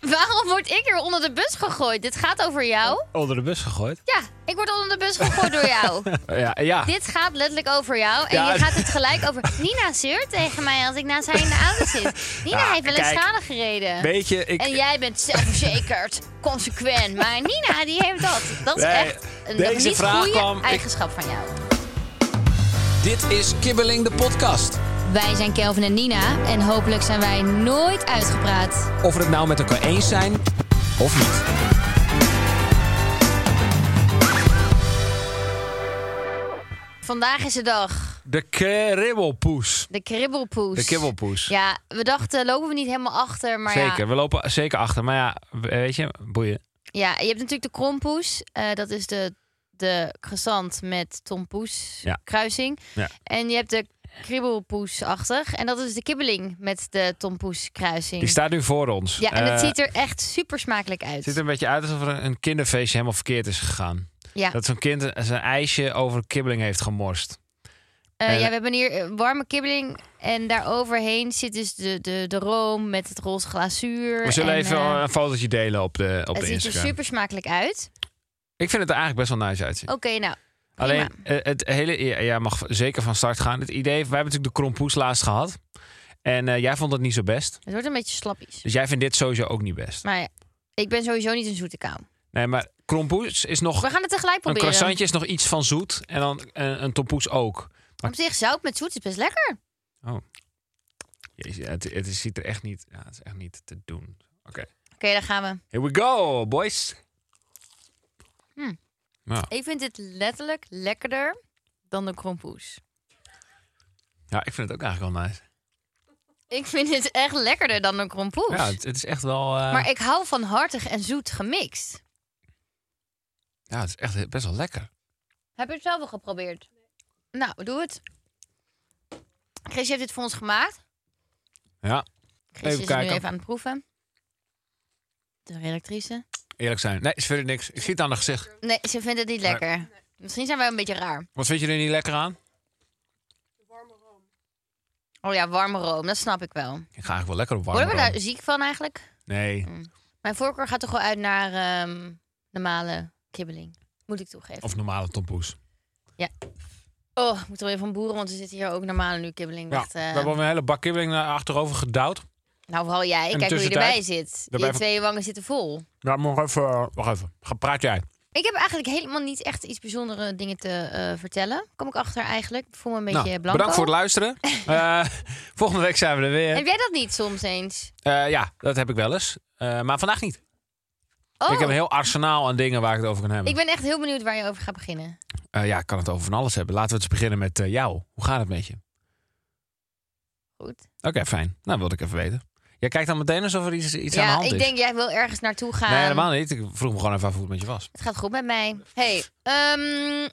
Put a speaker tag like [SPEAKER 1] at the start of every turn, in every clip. [SPEAKER 1] waarom word ik er onder de bus gegooid? Dit gaat over jou.
[SPEAKER 2] Onder de bus gegooid.
[SPEAKER 1] Ja, ik word onder de bus gegooid door jou.
[SPEAKER 2] Ja, ja.
[SPEAKER 1] Dit gaat letterlijk over jou. En
[SPEAKER 2] Ja.
[SPEAKER 1] je gaat het gelijk over. Nina zeurt tegen mij als ik naast haar in de auto zit. Nina
[SPEAKER 2] Ja,
[SPEAKER 1] heeft wel eens
[SPEAKER 2] kijk.
[SPEAKER 1] schade gereden.
[SPEAKER 2] Weet je, ik...
[SPEAKER 1] En jij bent zelfverzekerd, consequent. Maar Nina, die heeft dat. Dat is
[SPEAKER 2] Nee,
[SPEAKER 1] echt een
[SPEAKER 2] deze
[SPEAKER 1] dat is niet
[SPEAKER 2] vraag
[SPEAKER 1] goede
[SPEAKER 2] kwam- ik-
[SPEAKER 1] eigenschap van jou.
[SPEAKER 3] Dit is Kibbeling de podcast.
[SPEAKER 1] Wij zijn Kelvin en Nina. En hopelijk zijn wij nooit uitgepraat.
[SPEAKER 3] Of we het nou met elkaar eens zijn of niet.
[SPEAKER 1] Vandaag is de dag.
[SPEAKER 2] De kribbelpoes.
[SPEAKER 1] De kribbelpoes.
[SPEAKER 2] De kribbelpoes.
[SPEAKER 1] Ja, we dachten, lopen we niet helemaal achter. Maar
[SPEAKER 2] zeker,
[SPEAKER 1] Ja,
[SPEAKER 2] we lopen zeker achter. Maar ja, weet je, boeien.
[SPEAKER 1] ja, je hebt natuurlijk de krompoes. eh, dat is de, de croissant met tompoes
[SPEAKER 2] Ja.
[SPEAKER 1] kruising.
[SPEAKER 2] Ja.
[SPEAKER 1] En je hebt de kribbelpoesachtig. En dat is de kibbeling met de tompoes kruising.
[SPEAKER 2] Die staat nu voor ons.
[SPEAKER 1] Ja, en het
[SPEAKER 2] Eh,
[SPEAKER 1] ziet er echt super smakelijk uit.
[SPEAKER 2] Het ziet er een beetje uit alsof er een kinderfeestje helemaal verkeerd is gegaan.
[SPEAKER 1] Ja,
[SPEAKER 2] Dat zo'n kind zijn ijsje over kibbeling heeft gemorst.
[SPEAKER 1] Eh,
[SPEAKER 2] en-
[SPEAKER 1] ja, we hebben hier eh, warme kibbeling. En daaroverheen zit dus de, de, de room met het roze glazuur.
[SPEAKER 2] We zullen
[SPEAKER 1] en,
[SPEAKER 2] even
[SPEAKER 1] eh,
[SPEAKER 2] een fotootje delen op de, op
[SPEAKER 1] Het
[SPEAKER 2] de
[SPEAKER 1] ziet er
[SPEAKER 2] Instagram.
[SPEAKER 1] super smakelijk uit.
[SPEAKER 2] Ik vind het er eigenlijk best wel nice uitzien.
[SPEAKER 1] Oké, nou. prima.
[SPEAKER 2] Alleen eh, het hele, ja, jij mag zeker van start gaan. Het idee, wij hebben natuurlijk de krompoes laatst gehad. En eh, jij vond het niet zo best.
[SPEAKER 1] Het wordt een beetje slappies.
[SPEAKER 2] Dus jij vindt dit sowieso ook niet best.
[SPEAKER 1] Maar ja, ik ben sowieso niet een zoete kou.
[SPEAKER 2] Nee, maar krompoes is nog.
[SPEAKER 1] We gaan het tegelijk
[SPEAKER 2] Een
[SPEAKER 1] proberen.
[SPEAKER 2] croissantje is nog iets van zoet. En dan eh, een tompoes ook.
[SPEAKER 1] Op zich, zout met zoet is best lekker.
[SPEAKER 2] Jezus, ja, het, het is- ziet er echt niet, ja, het is echt niet te doen. Oké.
[SPEAKER 1] Oké, daar gaan we.
[SPEAKER 2] Here we go, boys.
[SPEAKER 1] Ik vind dit letterlijk lekkerder dan de krompoes.
[SPEAKER 2] Ja, ik vind het ook eigenlijk wel nice.
[SPEAKER 1] Ik vind dit echt lekkerder dan de krompoes.
[SPEAKER 2] Ja, het, het is echt wel. eh,
[SPEAKER 1] Maar ik hou van hartig en zoet gemixt.
[SPEAKER 2] Ja, het is echt best wel lekker.
[SPEAKER 1] Heb je het zelf al geprobeerd? Nou, doe het. Chris, je hebt dit voor ons gemaakt.
[SPEAKER 2] Ja,
[SPEAKER 1] Chris
[SPEAKER 2] Even
[SPEAKER 1] is
[SPEAKER 2] kijken.
[SPEAKER 1] nu even aan het proeven. De redactrice.
[SPEAKER 2] eerlijk zijn. Nee, ze vindt het niks. Ik zie het aan haar gezicht.
[SPEAKER 1] Nee, ze vindt het niet
[SPEAKER 2] Nee.
[SPEAKER 1] lekker. Misschien zijn wij een beetje raar.
[SPEAKER 2] Wat vind je er niet lekker aan?
[SPEAKER 1] Oh ja, warme room, dat snap ik wel.
[SPEAKER 2] Ik ga eigenlijk wel lekker op warm.
[SPEAKER 1] Worden we daar ziek van eigenlijk?
[SPEAKER 2] Nee.
[SPEAKER 1] Mijn voorkeur gaat toch wel uit naar ehm, normale kibbeling. Moet ik toegeven.
[SPEAKER 2] Of normale tompoes.
[SPEAKER 1] Oh, ik moet er weer van boeren, want er zitten hier ook normale nu kibbeling.
[SPEAKER 2] Ja,
[SPEAKER 1] Echt,
[SPEAKER 2] we
[SPEAKER 1] eh,
[SPEAKER 2] hebben een hele bak kibbeling naar achterover gedouwd.
[SPEAKER 1] nou, vooral jij.
[SPEAKER 2] de
[SPEAKER 1] Kijk hoe je
[SPEAKER 2] tussentijd-
[SPEAKER 1] erbij zit.
[SPEAKER 2] Daarbij
[SPEAKER 1] Je
[SPEAKER 2] van-
[SPEAKER 1] twee wangen zitten vol.
[SPEAKER 2] Ja, maar nog even. eh, Wacht even. Ga- Praat jij.
[SPEAKER 1] Ik heb eigenlijk helemaal niet echt iets bijzondere dingen te eh, vertellen. Kom ik achter eigenlijk. Ik voel me een beetje
[SPEAKER 2] Nou,
[SPEAKER 1] blanco.
[SPEAKER 2] bedankt voor het luisteren. Eh, volgende week zijn we er weer.
[SPEAKER 1] Heb jij dat niet soms eens?
[SPEAKER 2] Eh, ja, dat heb ik wel eens. Eh, maar vandaag niet.
[SPEAKER 1] Oh,
[SPEAKER 2] Ik heb een heel arsenaal aan dingen waar ik het over kan hebben.
[SPEAKER 1] ik ben echt heel benieuwd waar je over gaat beginnen.
[SPEAKER 2] Eh, ja, ik kan het over van alles hebben. Laten we eens beginnen met eh, jou. Hoe gaat het met je?
[SPEAKER 1] Goed.
[SPEAKER 2] Oké, fijn. Nou, wilde ik even weten. Jij kijkt dan meteen alsof er iets, iets aan de
[SPEAKER 1] ja,
[SPEAKER 2] hand
[SPEAKER 1] ik
[SPEAKER 2] is.
[SPEAKER 1] denk ehm, jij wil ergens naartoe gaan.
[SPEAKER 2] nee, helemaal niet. Ik vroeg me gewoon even af hoe het met je was.
[SPEAKER 1] Het gaat goed met mij. Hey, ehm,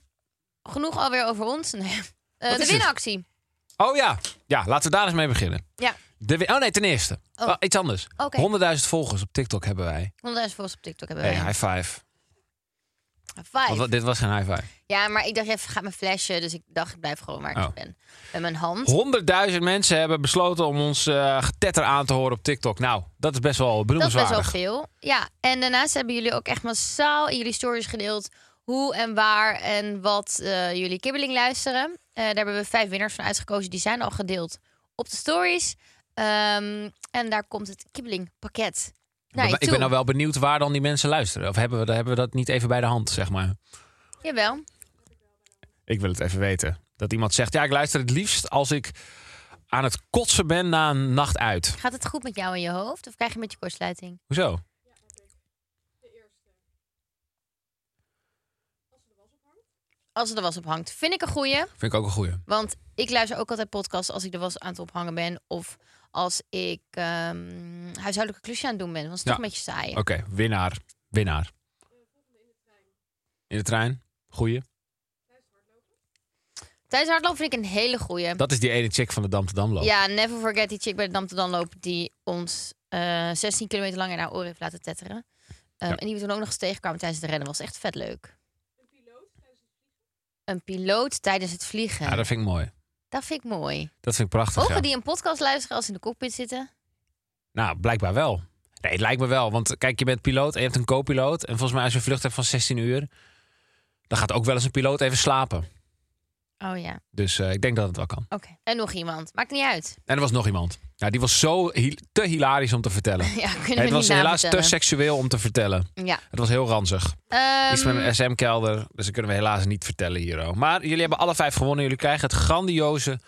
[SPEAKER 1] genoeg alweer over ons. Nee. Eh,
[SPEAKER 2] Wat
[SPEAKER 1] de
[SPEAKER 2] is het?
[SPEAKER 1] winactie.
[SPEAKER 2] Oh ja, ja laten we daar eens mee beginnen.
[SPEAKER 1] Ja.
[SPEAKER 2] De, win- oh nee, ten eerste.
[SPEAKER 1] Oh.
[SPEAKER 2] Oh, iets anders.
[SPEAKER 1] Oké.
[SPEAKER 2] 100.000 volgers op TikTok hebben wij.
[SPEAKER 1] 100.000 volgers op TikTok hebben
[SPEAKER 2] Hey,
[SPEAKER 1] wij.
[SPEAKER 2] high five.
[SPEAKER 1] Vijf.
[SPEAKER 2] Want wa- dit was geen high five.
[SPEAKER 1] Ja, maar ik dacht even, gaat mijn flesje. Dus ik dacht, ik blijf gewoon waar
[SPEAKER 2] Oh.
[SPEAKER 1] ik ben. Met mijn hand.
[SPEAKER 2] 100.000 mensen hebben besloten om ons eh, getetter aan te horen op TikTok. Nou, dat is best wel
[SPEAKER 1] Dat is best wel
[SPEAKER 2] benoemenswaardig.
[SPEAKER 1] veel. Ja, en daarnaast hebben jullie ook echt massaal in jullie stories gedeeld hoe en waar en wat eh, jullie kibbeling luisteren. Eh, daar hebben we vijf winnaars van uitgekozen. Die zijn al gedeeld op de stories. Ehm, en daar komt het kibbeling pakket. Naar je
[SPEAKER 2] ik
[SPEAKER 1] toe.
[SPEAKER 2] ben nou wel benieuwd waar dan die mensen luisteren. Of hebben we, hebben we dat niet even bij de hand, zeg maar?
[SPEAKER 1] Jawel.
[SPEAKER 2] Ik wil het even weten. Dat iemand zegt, ja, ik luister het liefst als ik aan het kotsen ben na een nacht uit.
[SPEAKER 1] Gaat het goed met jou in je hoofd of krijg je met je kortsluiting?
[SPEAKER 2] Hoezo?
[SPEAKER 1] Als het er was op hangt, vind ik een goeie.
[SPEAKER 2] Vind ik ook een goeie.
[SPEAKER 1] Want ik luister ook altijd podcasts als ik de was aan het ophangen ben. Of als ik ehm, huishoudelijke klusjes aan het doen ben. Want het is
[SPEAKER 2] Ja.
[SPEAKER 1] toch een beetje saai. hè?
[SPEAKER 2] Oké, winnaar. Winnaar. In de trein. Goeie.
[SPEAKER 1] Tijdens hardlopen vind ik een hele goeie.
[SPEAKER 2] Dat is die ene chick van de Dam te Dam loop.
[SPEAKER 1] Ja, never forget die chick bij de Dam te Dan lopen die ons eh, 16 kilometer lang in haar oren heeft laten tetteren. Um,
[SPEAKER 2] Ja.
[SPEAKER 1] En die we toen ook nog eens tegenkwamen tijdens het rennen. was echt vet leuk. Een piloot tijdens het vliegen.
[SPEAKER 2] Ja, dat vind ik mooi.
[SPEAKER 1] dat vind ik mooi.
[SPEAKER 2] Dat vind ik prachtig.
[SPEAKER 1] Mogen
[SPEAKER 2] ja.
[SPEAKER 1] die een podcast luisteren als ze in de cockpit zitten?
[SPEAKER 2] Nou, blijkbaar wel. Nee, het lijkt me wel. Want kijk, je bent piloot en je hebt een co-piloot. En volgens mij als je een vlucht hebt van 16 uur... dan gaat ook wel eens een piloot even slapen.
[SPEAKER 1] Oh ja,
[SPEAKER 2] Dus eh, ik denk dat het wel kan.
[SPEAKER 1] oké. En nog iemand. Maakt niet uit.
[SPEAKER 2] En er was nog iemand. Nou, die was zo hi- te hilarisch om te vertellen.
[SPEAKER 1] Ja, kunnen we
[SPEAKER 2] het was
[SPEAKER 1] niet na
[SPEAKER 2] helaas te
[SPEAKER 1] vertellen.
[SPEAKER 2] seksueel om te vertellen.
[SPEAKER 1] Ja.
[SPEAKER 2] Het was heel ranzig. Iets met
[SPEAKER 1] Ehm,
[SPEAKER 2] een SM-kelder. Dus dat kunnen we helaas niet vertellen hier. ook. Maar jullie hebben alle vijf gewonnen. Jullie krijgen het grandioze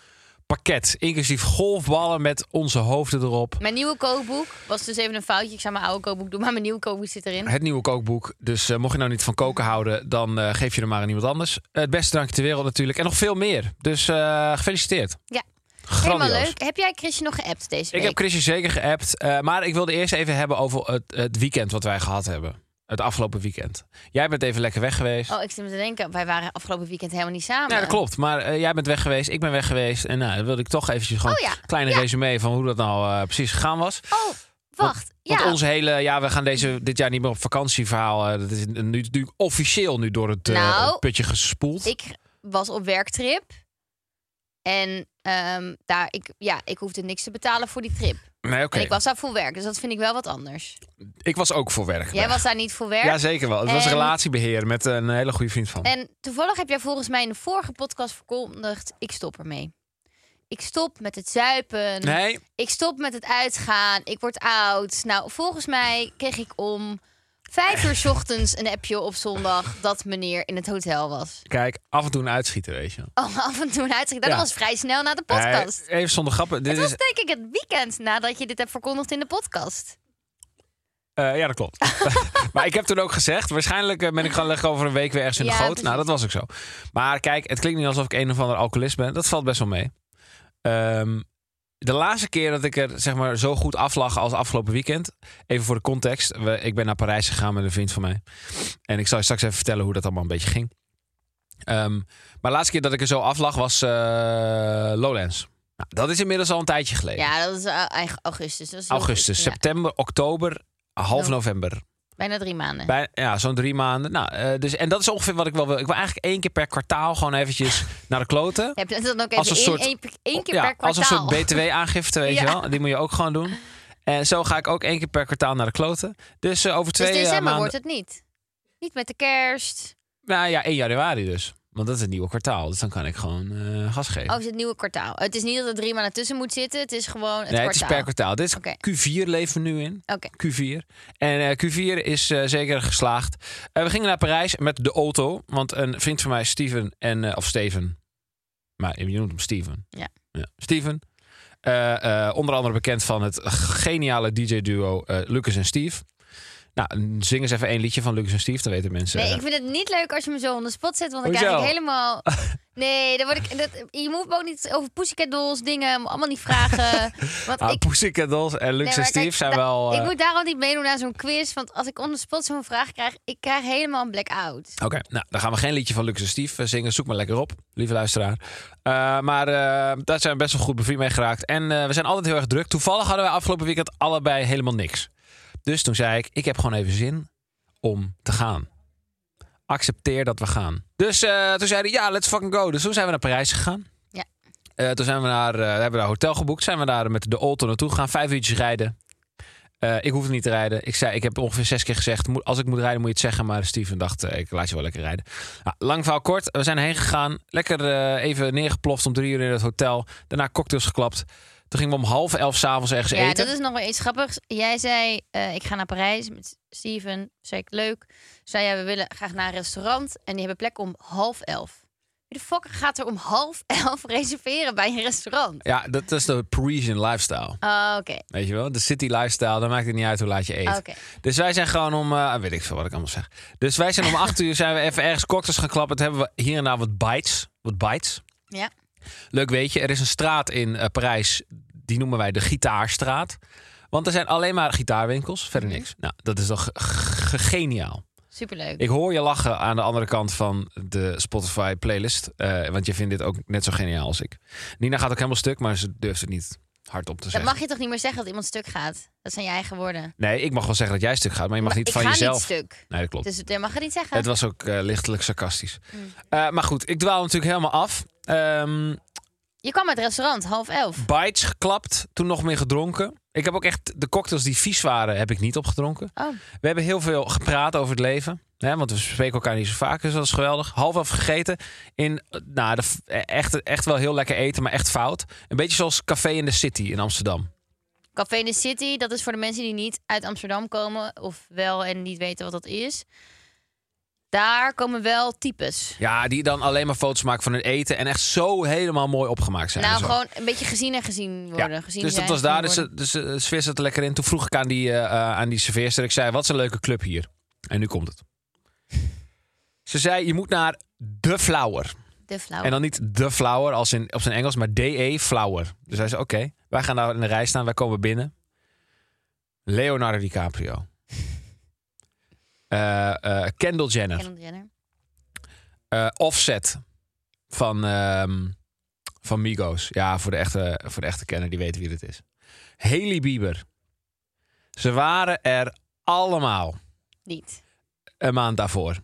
[SPEAKER 2] pakket. Inclusief golfballen met onze hoofden erop.
[SPEAKER 1] Mijn nieuwe kookboek was dus even een foutje. Ik zou mijn oude kookboek doen, maar mijn nieuwe kookboek zit erin.
[SPEAKER 2] Het nieuwe kookboek. Dus eh, mocht je nou niet van koken houden, dan eh, geef je er maar aan iemand anders. Het beste drankje ter wereld natuurlijk. En nog veel meer. Dus eh, gefeliciteerd.
[SPEAKER 1] Ja.
[SPEAKER 2] Grandioos.
[SPEAKER 1] Helemaal leuk. Heb jij Chrisje nog geappt deze week?
[SPEAKER 2] Ik heb Chrisje zeker geappt. eh, maar ik wilde eerst even hebben over het, het weekend wat wij gehad hebben. Het afgelopen weekend. Jij bent even lekker weg geweest.
[SPEAKER 1] Oh, ik zit me te denken, wij waren afgelopen weekend helemaal niet samen.
[SPEAKER 2] Ja, dat klopt. Maar eh, jij bent weg geweest, ik ben weg geweest. En nou, dan wilde ik toch eventjes gewoon
[SPEAKER 1] Oh ja,
[SPEAKER 2] een kleine
[SPEAKER 1] ja.
[SPEAKER 2] resume van hoe dat nou eh, precies gegaan was.
[SPEAKER 1] Oh, wacht.
[SPEAKER 2] Want
[SPEAKER 1] ja.
[SPEAKER 2] ons hele, ja, we gaan deze, dit jaar niet meer op vakantieverhaal. eh, dat is nu, natuurlijk officieel nu door het eh,
[SPEAKER 1] Nou,
[SPEAKER 2] putje gespoeld.
[SPEAKER 1] Ik was op werktrip. En ehm, daar, ik, ja, ik hoefde niks te betalen voor die trip.
[SPEAKER 2] nee, oké.
[SPEAKER 1] En ik was daar voor werk, dus dat vind ik wel wat anders.
[SPEAKER 2] Ik was ook voor werk.
[SPEAKER 1] Jij was daar niet voor werk.
[SPEAKER 2] Ja, zeker wel. Het was
[SPEAKER 1] En-
[SPEAKER 2] relatiebeheer met een hele goede vriend van. me.
[SPEAKER 1] En toevallig heb jij volgens mij in de vorige podcast verkondigd: ik stop ermee. Ik stop met het zuipen.
[SPEAKER 2] Nee,
[SPEAKER 1] Ik stop met het uitgaan. Ik word oud. Nou, volgens mij kreeg ik om vijf uur 's ochtends een appje op zondag dat meneer in het hotel was.
[SPEAKER 2] kijk, af en toe een uitschieter, weet je.
[SPEAKER 1] Oh, af en toe een uitzicht. Dat
[SPEAKER 2] Ja.
[SPEAKER 1] was vrij snel na de podcast.
[SPEAKER 2] Nee, even zonder grappen. Dit
[SPEAKER 1] het
[SPEAKER 2] is,
[SPEAKER 1] was denk ik het weekend nadat je dit hebt verkondigd in de podcast.
[SPEAKER 2] eh, ja, dat klopt. maar ik heb toen ook gezegd, waarschijnlijk eh, ben ik gaan liggen over een week weer ergens in de
[SPEAKER 1] Ja,
[SPEAKER 2] goot.
[SPEAKER 1] precies.
[SPEAKER 2] Nou, dat was ook zo. Maar kijk, het klinkt niet alsof ik een of ander alcoholist ben. Dat valt best wel mee. Ehm, de laatste keer dat ik er zeg maar, zo goed aflag als afgelopen weekend. Even voor de context. We, ik ben naar Parijs gegaan met een vriend van mij. En ik zal je straks even vertellen hoe dat allemaal een beetje ging. Ehm, maar de laatste keer dat ik er zo aflag was eh, Lowlands. Nou, dat is inmiddels al een tijdje geleden.
[SPEAKER 1] Ja, dat is eh, eigen augustus. Dat is heel
[SPEAKER 2] Augustus,
[SPEAKER 1] goed. Ja,
[SPEAKER 2] september, oktober, half
[SPEAKER 1] Oh.
[SPEAKER 2] november.
[SPEAKER 1] bijna drie maanden.
[SPEAKER 2] Bij, ja, zo'n drie maanden. Nou, eh, dus, en dat is ongeveer wat ik wel wil. Ik wil eigenlijk één keer per kwartaal gewoon eventjes naar de kloten.
[SPEAKER 1] Heb je dat dan ook
[SPEAKER 2] Als
[SPEAKER 1] even één,
[SPEAKER 2] een soort-
[SPEAKER 1] één- één keer
[SPEAKER 2] Ja,
[SPEAKER 1] per
[SPEAKER 2] als
[SPEAKER 1] kwartaal?
[SPEAKER 2] een soort btw-aangifte, weet
[SPEAKER 1] Ja.
[SPEAKER 2] je wel. Die moet je ook gewoon doen. En zo ga ik ook één keer per kwartaal naar de kloten. Dus eh, over
[SPEAKER 1] dus
[SPEAKER 2] twee eh,
[SPEAKER 1] december
[SPEAKER 2] maanden...
[SPEAKER 1] wordt het niet. Niet met de kerst.
[SPEAKER 2] Nou ja, 1 januari dus. Want dat is het nieuwe kwartaal. Dus dan kan ik gewoon eh, gas geven.
[SPEAKER 1] Oh, is het nieuwe kwartaal. Het is niet dat er drie maanden tussen moet zitten. Het is gewoon het
[SPEAKER 2] nee, het is
[SPEAKER 1] kwartaal.
[SPEAKER 2] per kwartaal. Dit is
[SPEAKER 1] Oké.
[SPEAKER 2] Q4 leven we nu in.
[SPEAKER 1] Oké.
[SPEAKER 2] Q4. En eh, Q4 is eh, zeker geslaagd. Eh, we gingen naar Parijs met de auto. Want een vriend van mij, Steven, en, eh, of Steven. Maar je noemt hem Steven.
[SPEAKER 1] Ja.
[SPEAKER 2] Steven. Eh, eh, onder andere bekend van het geniale DJ-duo eh, Lucas en Steve. Nou, zing eens even één liedje van Lucas en Steve. Dan weten mensen.
[SPEAKER 1] Nee, ik vind het niet leuk als je me zo on the spot zet. Want dan
[SPEAKER 2] Hoezo?
[SPEAKER 1] krijg ik helemaal... Nee, dan word ik, dat, je moet me ook niet over Pussycat Dolls, dingen, allemaal niet vragen. Want
[SPEAKER 2] Ah,
[SPEAKER 1] ik,
[SPEAKER 2] Pussycat Dolls en Lucas
[SPEAKER 1] Nee,
[SPEAKER 2] en
[SPEAKER 1] maar
[SPEAKER 2] Steve
[SPEAKER 1] kijk,
[SPEAKER 2] zijn
[SPEAKER 1] da-
[SPEAKER 2] wel... eh,
[SPEAKER 1] ik moet daarom niet meedoen aan zo'n quiz. Want als ik on the spot zo'n vraag krijg, ik krijg helemaal een blackout.
[SPEAKER 2] Oké, nou, dan gaan we geen liedje van Lucas en Steve eh, zingen. Zoek maar lekker op, lieve luisteraar. Eh, maar eh, daar zijn we best wel goed bevriend mee geraakt. En eh, we zijn altijd heel erg druk. Toevallig hadden wij afgelopen weekend allebei helemaal niks. Dus toen zei ik, ik heb gewoon even zin om te gaan. Accepteer dat we gaan. Dus eh, toen zeiden ja, let's fucking go. Dus toen zijn we naar Parijs gegaan.
[SPEAKER 1] Ja.
[SPEAKER 2] Eh, toen zijn we naar, eh, hebben we daar hotel geboekt. Zijn we daar met de auto naartoe gegaan. Vijf uurtjes rijden. Eh, ik hoefde niet te rijden. Ik, zei, ik heb ongeveer zes keer gezegd: moet- als ik moet rijden, moet je het zeggen. Maar Steven dacht: eh, ik laat je wel lekker rijden. Nou, lang verhaal kort. We zijn heen gegaan. Lekker eh, even neergeploft om drie uur in het hotel. Daarna cocktails geklapt. Toen gingen we om half elf s'avonds ergens
[SPEAKER 1] ja,
[SPEAKER 2] eten.
[SPEAKER 1] dat is nog wel iets grappigs. Jij zei, eh, ik ga naar Parijs met Steven. Zei ik, leuk. Zei jij, we willen graag naar een restaurant. En die hebben plek om half elf. Wie de fuck gaat er om half elf reserveren bij een restaurant?
[SPEAKER 2] Ja, dat is de Parisian lifestyle.
[SPEAKER 1] Oh, oké.
[SPEAKER 2] Weet je wel? De city lifestyle. Dan maakt het niet uit hoe laat je eet.
[SPEAKER 1] Oké.
[SPEAKER 2] Dus wij zijn gewoon om, eh, weet ik veel wat ik allemaal zeg. Dus wij zijn om acht uur zijn we even ergens cocktails gaan klappen. Toen hebben we hier en daar wat bites. Wat bites.
[SPEAKER 1] Ja.
[SPEAKER 2] Leuk weet je, er is een straat in eh, Parijs, die noemen wij de Gitaarstraat. Want er zijn alleen maar gitaarwinkels, verder
[SPEAKER 1] Mhm.
[SPEAKER 2] niks. Nou, dat is toch g- g- geniaal.
[SPEAKER 1] Superleuk.
[SPEAKER 2] Ik hoor je lachen aan de andere kant van de Spotify playlist. eh, want je vindt dit ook net zo geniaal als ik. Nina gaat ook helemaal stuk, maar ze durft het niet hardop te
[SPEAKER 1] dat
[SPEAKER 2] zeggen.
[SPEAKER 1] mag je toch niet meer zeggen dat iemand stuk gaat? Dat zijn je eigen woorden. Je
[SPEAKER 2] Nee, ik mag wel zeggen dat jij stuk gaat, maar je mag niet
[SPEAKER 1] ik
[SPEAKER 2] van
[SPEAKER 1] ga
[SPEAKER 2] jezelf.
[SPEAKER 1] niet stuk.
[SPEAKER 2] Nee, dat klopt.
[SPEAKER 1] Dus Mm. dat mag je niet zeggen.
[SPEAKER 2] Het was ook eh, lichtelijk sarcastisch. Eh, maar goed, ik dwaal natuurlijk helemaal af. Ehm,
[SPEAKER 1] Je kwam uit het restaurant, half elf.
[SPEAKER 2] Bites geklapt, toen nog meer gedronken. Ik heb ook echt de cocktails die vies waren, heb ik niet opgedronken.
[SPEAKER 1] Oh.
[SPEAKER 2] We hebben heel veel gepraat over het leven. Hè, want we spreken elkaar niet zo vaak, dus dat is geweldig. Half af gegeten. In, eh, nou, de f- eh, echt, echt wel heel lekker eten, maar echt fout. Een beetje zoals Café in de City in Amsterdam.
[SPEAKER 1] Café in de City, dat is voor de mensen die niet uit Amsterdam komen of wel en niet weten wat dat is. Daar komen wel types.
[SPEAKER 2] Ja, die dan alleen maar foto's maken van hun eten. En echt zo helemaal mooi opgemaakt zijn. en
[SPEAKER 1] nou,
[SPEAKER 2] zo.
[SPEAKER 1] gewoon een beetje gezien en gezien worden.
[SPEAKER 2] Ja,
[SPEAKER 1] Gezien
[SPEAKER 2] dus
[SPEAKER 1] zijn
[SPEAKER 2] dat was
[SPEAKER 1] en
[SPEAKER 2] daar.
[SPEAKER 1] gezien
[SPEAKER 2] Dus,
[SPEAKER 1] worden.
[SPEAKER 2] de- dus eh, de sfeer zat er lekker in. Toen vroeg ik aan die, eh, eh, aan die serveerster. Ik zei, wat een leuke club hier. En nu komt het. Ze zei, je moet naar De Flower.
[SPEAKER 1] De flauw.
[SPEAKER 2] En dan niet De Flower als in, op zijn Engels, maar DE Flower. Dus hij zei, oké, wij gaan daar in de rij staan. Wij komen binnen. Leonardo DiCaprio. Eh, eh, Kendall Jenner.
[SPEAKER 1] Kendall Jenner.
[SPEAKER 2] Eh, offset van, ehm, van Migos. Ja, voor de, echte, voor de echte kenner, die weten wie dit is. Haley Bieber. Ze waren er allemaal
[SPEAKER 1] Niet.
[SPEAKER 2] een maand daarvoor.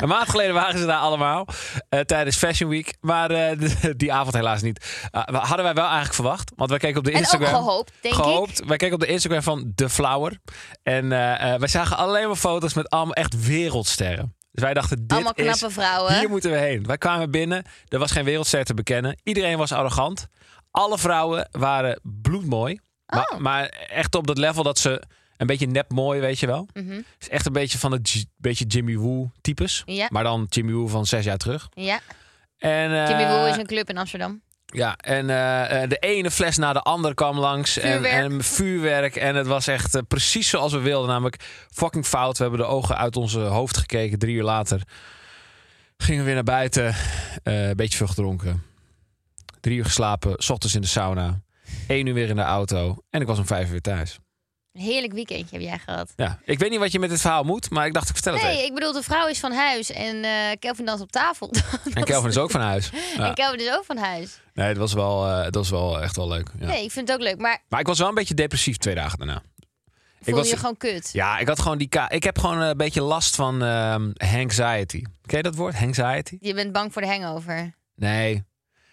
[SPEAKER 2] een maand geleden waren ze daar allemaal eh, tijdens Fashion Week. Maar eh, d- die avond helaas niet. Ah, we- hadden wij wel eigenlijk verwacht. Want wij keken op de
[SPEAKER 1] En ook
[SPEAKER 2] Instagram.
[SPEAKER 1] gehoopt, denk ik.
[SPEAKER 2] gehoopt. Wij keken op de Instagram van The Flower. En eh, eh, wij zagen alleen maar foto's met allemaal echt wereldsterren. Dus wij dachten, dit
[SPEAKER 1] Allemaal
[SPEAKER 2] is
[SPEAKER 1] knappe vrouwen.
[SPEAKER 2] hier moeten we heen. Wij kwamen binnen. Er was geen wereldster te bekennen. Iedereen was arrogant. Alle vrouwen waren bloedmooi. Maar,
[SPEAKER 1] Oh.
[SPEAKER 2] maar echt op dat level dat ze een beetje nep mooi, weet je wel.
[SPEAKER 1] Mhm.
[SPEAKER 2] Dus echt een beetje van de G- beetje Jimmy Woo types.
[SPEAKER 1] Ja.
[SPEAKER 2] Maar dan Jimmy Woo van zes jaar terug.
[SPEAKER 1] Ja,
[SPEAKER 2] En, eh,
[SPEAKER 1] Jimmy Woo is een club in Amsterdam.
[SPEAKER 2] Ja, en eh, eh, de ene fles na de ander kwam langs. En,
[SPEAKER 1] Vuurwerk.
[SPEAKER 2] en vuurwerk. En het was echt eh, precies zoals we wilden. Namelijk fucking fout. We hebben de ogen uit onze hoofd gekeken. Drie uur later gingen we weer naar buiten. Eh, een beetje veel gedronken. Drie uur geslapen. 's ochtends in de sauna. Eén uur weer in de auto. En ik was om vijf uur thuis.
[SPEAKER 1] Een heerlijk weekendje heb jij gehad.
[SPEAKER 2] Ja, ik weet niet wat je met dit verhaal moet. Maar ik dacht, ik vertel het even.
[SPEAKER 1] Nee, ik bedoel, de vrouw is van huis en eh Kelvin danst op tafel.
[SPEAKER 2] En Kelvin is ook van huis. Ja.
[SPEAKER 1] En Kelvin is ook van huis.
[SPEAKER 2] Nee, dat was wel, eh, dat was wel echt wel leuk. Ja.
[SPEAKER 1] Nee, ik vind het ook leuk. Maar
[SPEAKER 2] Maar ik was wel een beetje depressief twee dagen daarna.
[SPEAKER 1] voel
[SPEAKER 2] was-
[SPEAKER 1] je gewoon kut.
[SPEAKER 2] Ja, ik had gewoon die ka Ik heb gewoon een beetje last van ehm anxiety. Ken je dat woord? Anxiety?
[SPEAKER 1] Je bent bang voor de hangover.
[SPEAKER 2] Nee.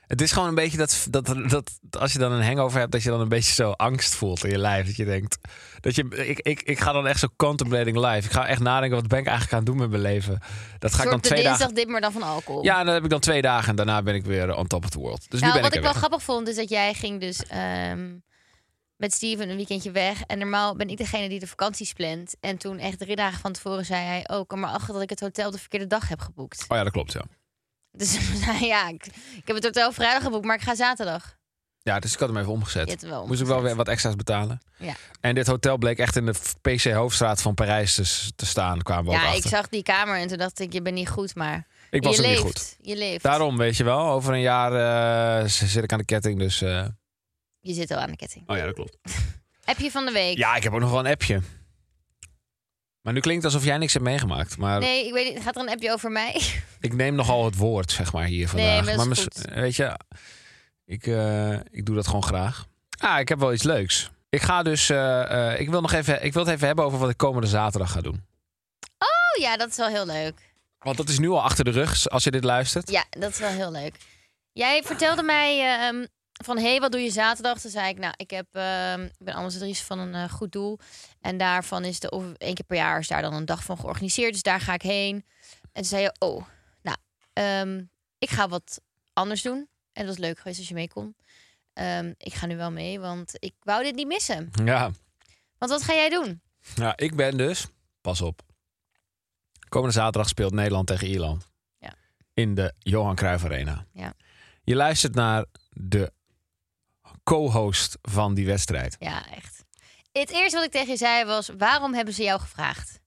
[SPEAKER 2] Het is gewoon een beetje dat, dat, dat als je dan een hangover hebt, dat je dan een beetje zo angst voelt in je lijf. Dat je denkt, dat je, ik, ik, ik ga dan echt zo contemplating life. Ik ga echt nadenken, wat ben ik eigenlijk aan het doen met mijn leven? Dat ga ik dan
[SPEAKER 1] Soort de
[SPEAKER 2] twee
[SPEAKER 1] dinsdag
[SPEAKER 2] dagen...
[SPEAKER 1] dit, maar dan van alcohol.
[SPEAKER 2] Ja, en dat heb ik dan twee dagen en daarna ben ik weer on top of the world. Dus nu
[SPEAKER 1] nou,
[SPEAKER 2] ben ik
[SPEAKER 1] wat ik
[SPEAKER 2] er
[SPEAKER 1] wel
[SPEAKER 2] weer.
[SPEAKER 1] grappig vond, is dat jij ging dus ehm, met Steven een weekendje weg. En normaal ben ik degene die de vakanties plant. En toen echt drie dagen van tevoren zei hij... Oh, kom maar achter dat ik het hotel de verkeerde dag heb geboekt.
[SPEAKER 2] Oh ja, dat klopt, ja.
[SPEAKER 1] Dus nou ja, ik, ik heb het hotel vrijdag geboekt, maar ik ga zaterdag.
[SPEAKER 2] Ja, dus ik had hem even
[SPEAKER 1] Je
[SPEAKER 2] omgezet.
[SPEAKER 1] hebt hem wel
[SPEAKER 2] Moest ik wel weer
[SPEAKER 1] omgezet.
[SPEAKER 2] wat extra's betalen.
[SPEAKER 1] Ja.
[SPEAKER 2] En dit hotel bleek echt in de PC Hoofdstraat van Parijs dus te, te staan. Kwamen we ook
[SPEAKER 1] Ja, ik
[SPEAKER 2] achter.
[SPEAKER 1] zag die kamer en toen dacht ik, je bent niet goed, maar...
[SPEAKER 2] Ik was
[SPEAKER 1] je
[SPEAKER 2] ook
[SPEAKER 1] leeft,
[SPEAKER 2] niet goed.
[SPEAKER 1] Je leeft.
[SPEAKER 2] Daarom, weet je wel, over een jaar eh, z- zit ik aan de ketting. Dus. eh,
[SPEAKER 1] Je zit al aan de ketting.
[SPEAKER 2] Oh ja, dat klopt.
[SPEAKER 1] Heb je van de week?
[SPEAKER 2] Ja, ik heb ook nog wel een appje. Maar nu klinkt het alsof jij niks hebt meegemaakt. Maar
[SPEAKER 1] Nee, ik weet niet. Gaat er een appje over mij?
[SPEAKER 2] ik neem nogal het woord, zeg maar, hier vandaag.
[SPEAKER 1] maar dat is
[SPEAKER 2] mis-
[SPEAKER 1] goed.
[SPEAKER 2] Weet je, ik, eh, ik doe dat gewoon graag. Ah, ik heb wel iets leuks. Ik ga dus. eh, eh, ik, wil nog even, ik wil het even hebben over wat ik komende zaterdag ga doen.
[SPEAKER 1] Oh ja, dat is wel heel leuk.
[SPEAKER 2] Want dat is nu al achter de rug, als je dit luistert.
[SPEAKER 1] Ja, dat is wel heel leuk. Jij vertelde mij ehm, van, hé, hey, wat doe je zaterdag? Toen zei ik, nou, ik, heb, ehm, ik ben ambassadrice van een eh, goed doel. En daarvan is de, of één keer per jaar is daar dan een dag van georganiseerd. Dus daar ga ik heen. En toen zei je, oh, nou, ehm, ik ga wat anders doen. En dat was leuk geweest als je mee kon. Ehm, ik ga nu wel mee, want ik wou dit niet missen.
[SPEAKER 2] Ja.
[SPEAKER 1] Want wat ga jij doen?
[SPEAKER 2] Ja, ik ben dus. Pas op. Komende zaterdag speelt Nederland tegen Ierland.
[SPEAKER 1] Ja.
[SPEAKER 2] In de Johan Cruijff Arena.
[SPEAKER 1] Ja.
[SPEAKER 2] Je luistert naar de co-host van die wedstrijd.
[SPEAKER 1] Ja, echt. Het eerste wat ik tegen je zei was, waarom hebben ze jou gevraagd?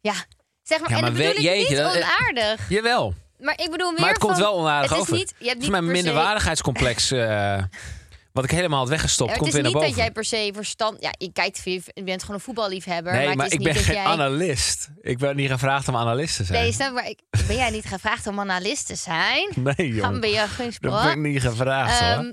[SPEAKER 1] Ja, zeg maar,
[SPEAKER 2] Ja,
[SPEAKER 1] en
[SPEAKER 2] maar
[SPEAKER 1] dat bedoel
[SPEAKER 2] we-
[SPEAKER 1] ik
[SPEAKER 2] jeetje,
[SPEAKER 1] niet
[SPEAKER 2] dat-
[SPEAKER 1] onaardig.
[SPEAKER 2] Jawel,
[SPEAKER 1] Maar ik bedoel meer
[SPEAKER 2] maar het komt
[SPEAKER 1] van,
[SPEAKER 2] wel onaardig
[SPEAKER 1] het is
[SPEAKER 2] over.
[SPEAKER 1] Niet, je hebt
[SPEAKER 2] het is
[SPEAKER 1] niet
[SPEAKER 2] mijn
[SPEAKER 1] per se-
[SPEAKER 2] minderwaardigheidscomplex, eh, wat ik helemaal had
[SPEAKER 1] Ja,
[SPEAKER 2] weggestopt,
[SPEAKER 1] maar
[SPEAKER 2] komt
[SPEAKER 1] het
[SPEAKER 2] weer
[SPEAKER 1] is
[SPEAKER 2] naar
[SPEAKER 1] niet
[SPEAKER 2] boven.
[SPEAKER 1] dat jij per se verstand... Ja, je kijkt veel, je bent gewoon een voetballiefhebber.
[SPEAKER 2] nee,
[SPEAKER 1] maar,
[SPEAKER 2] maar,
[SPEAKER 1] het is
[SPEAKER 2] ik
[SPEAKER 1] niet
[SPEAKER 2] ben
[SPEAKER 1] dat
[SPEAKER 2] geen eh.
[SPEAKER 1] jij...
[SPEAKER 2] analist. Ik ben niet gevraagd om analist te
[SPEAKER 1] Nee,
[SPEAKER 2] zijn.
[SPEAKER 1] snap je, maar ik, ben jij niet gevraagd om analist te zijn?
[SPEAKER 2] Nee,
[SPEAKER 1] Gaan
[SPEAKER 2] jongen.
[SPEAKER 1] we je geen
[SPEAKER 2] Dat ben ik niet gevraagd hoor.
[SPEAKER 1] Ehm,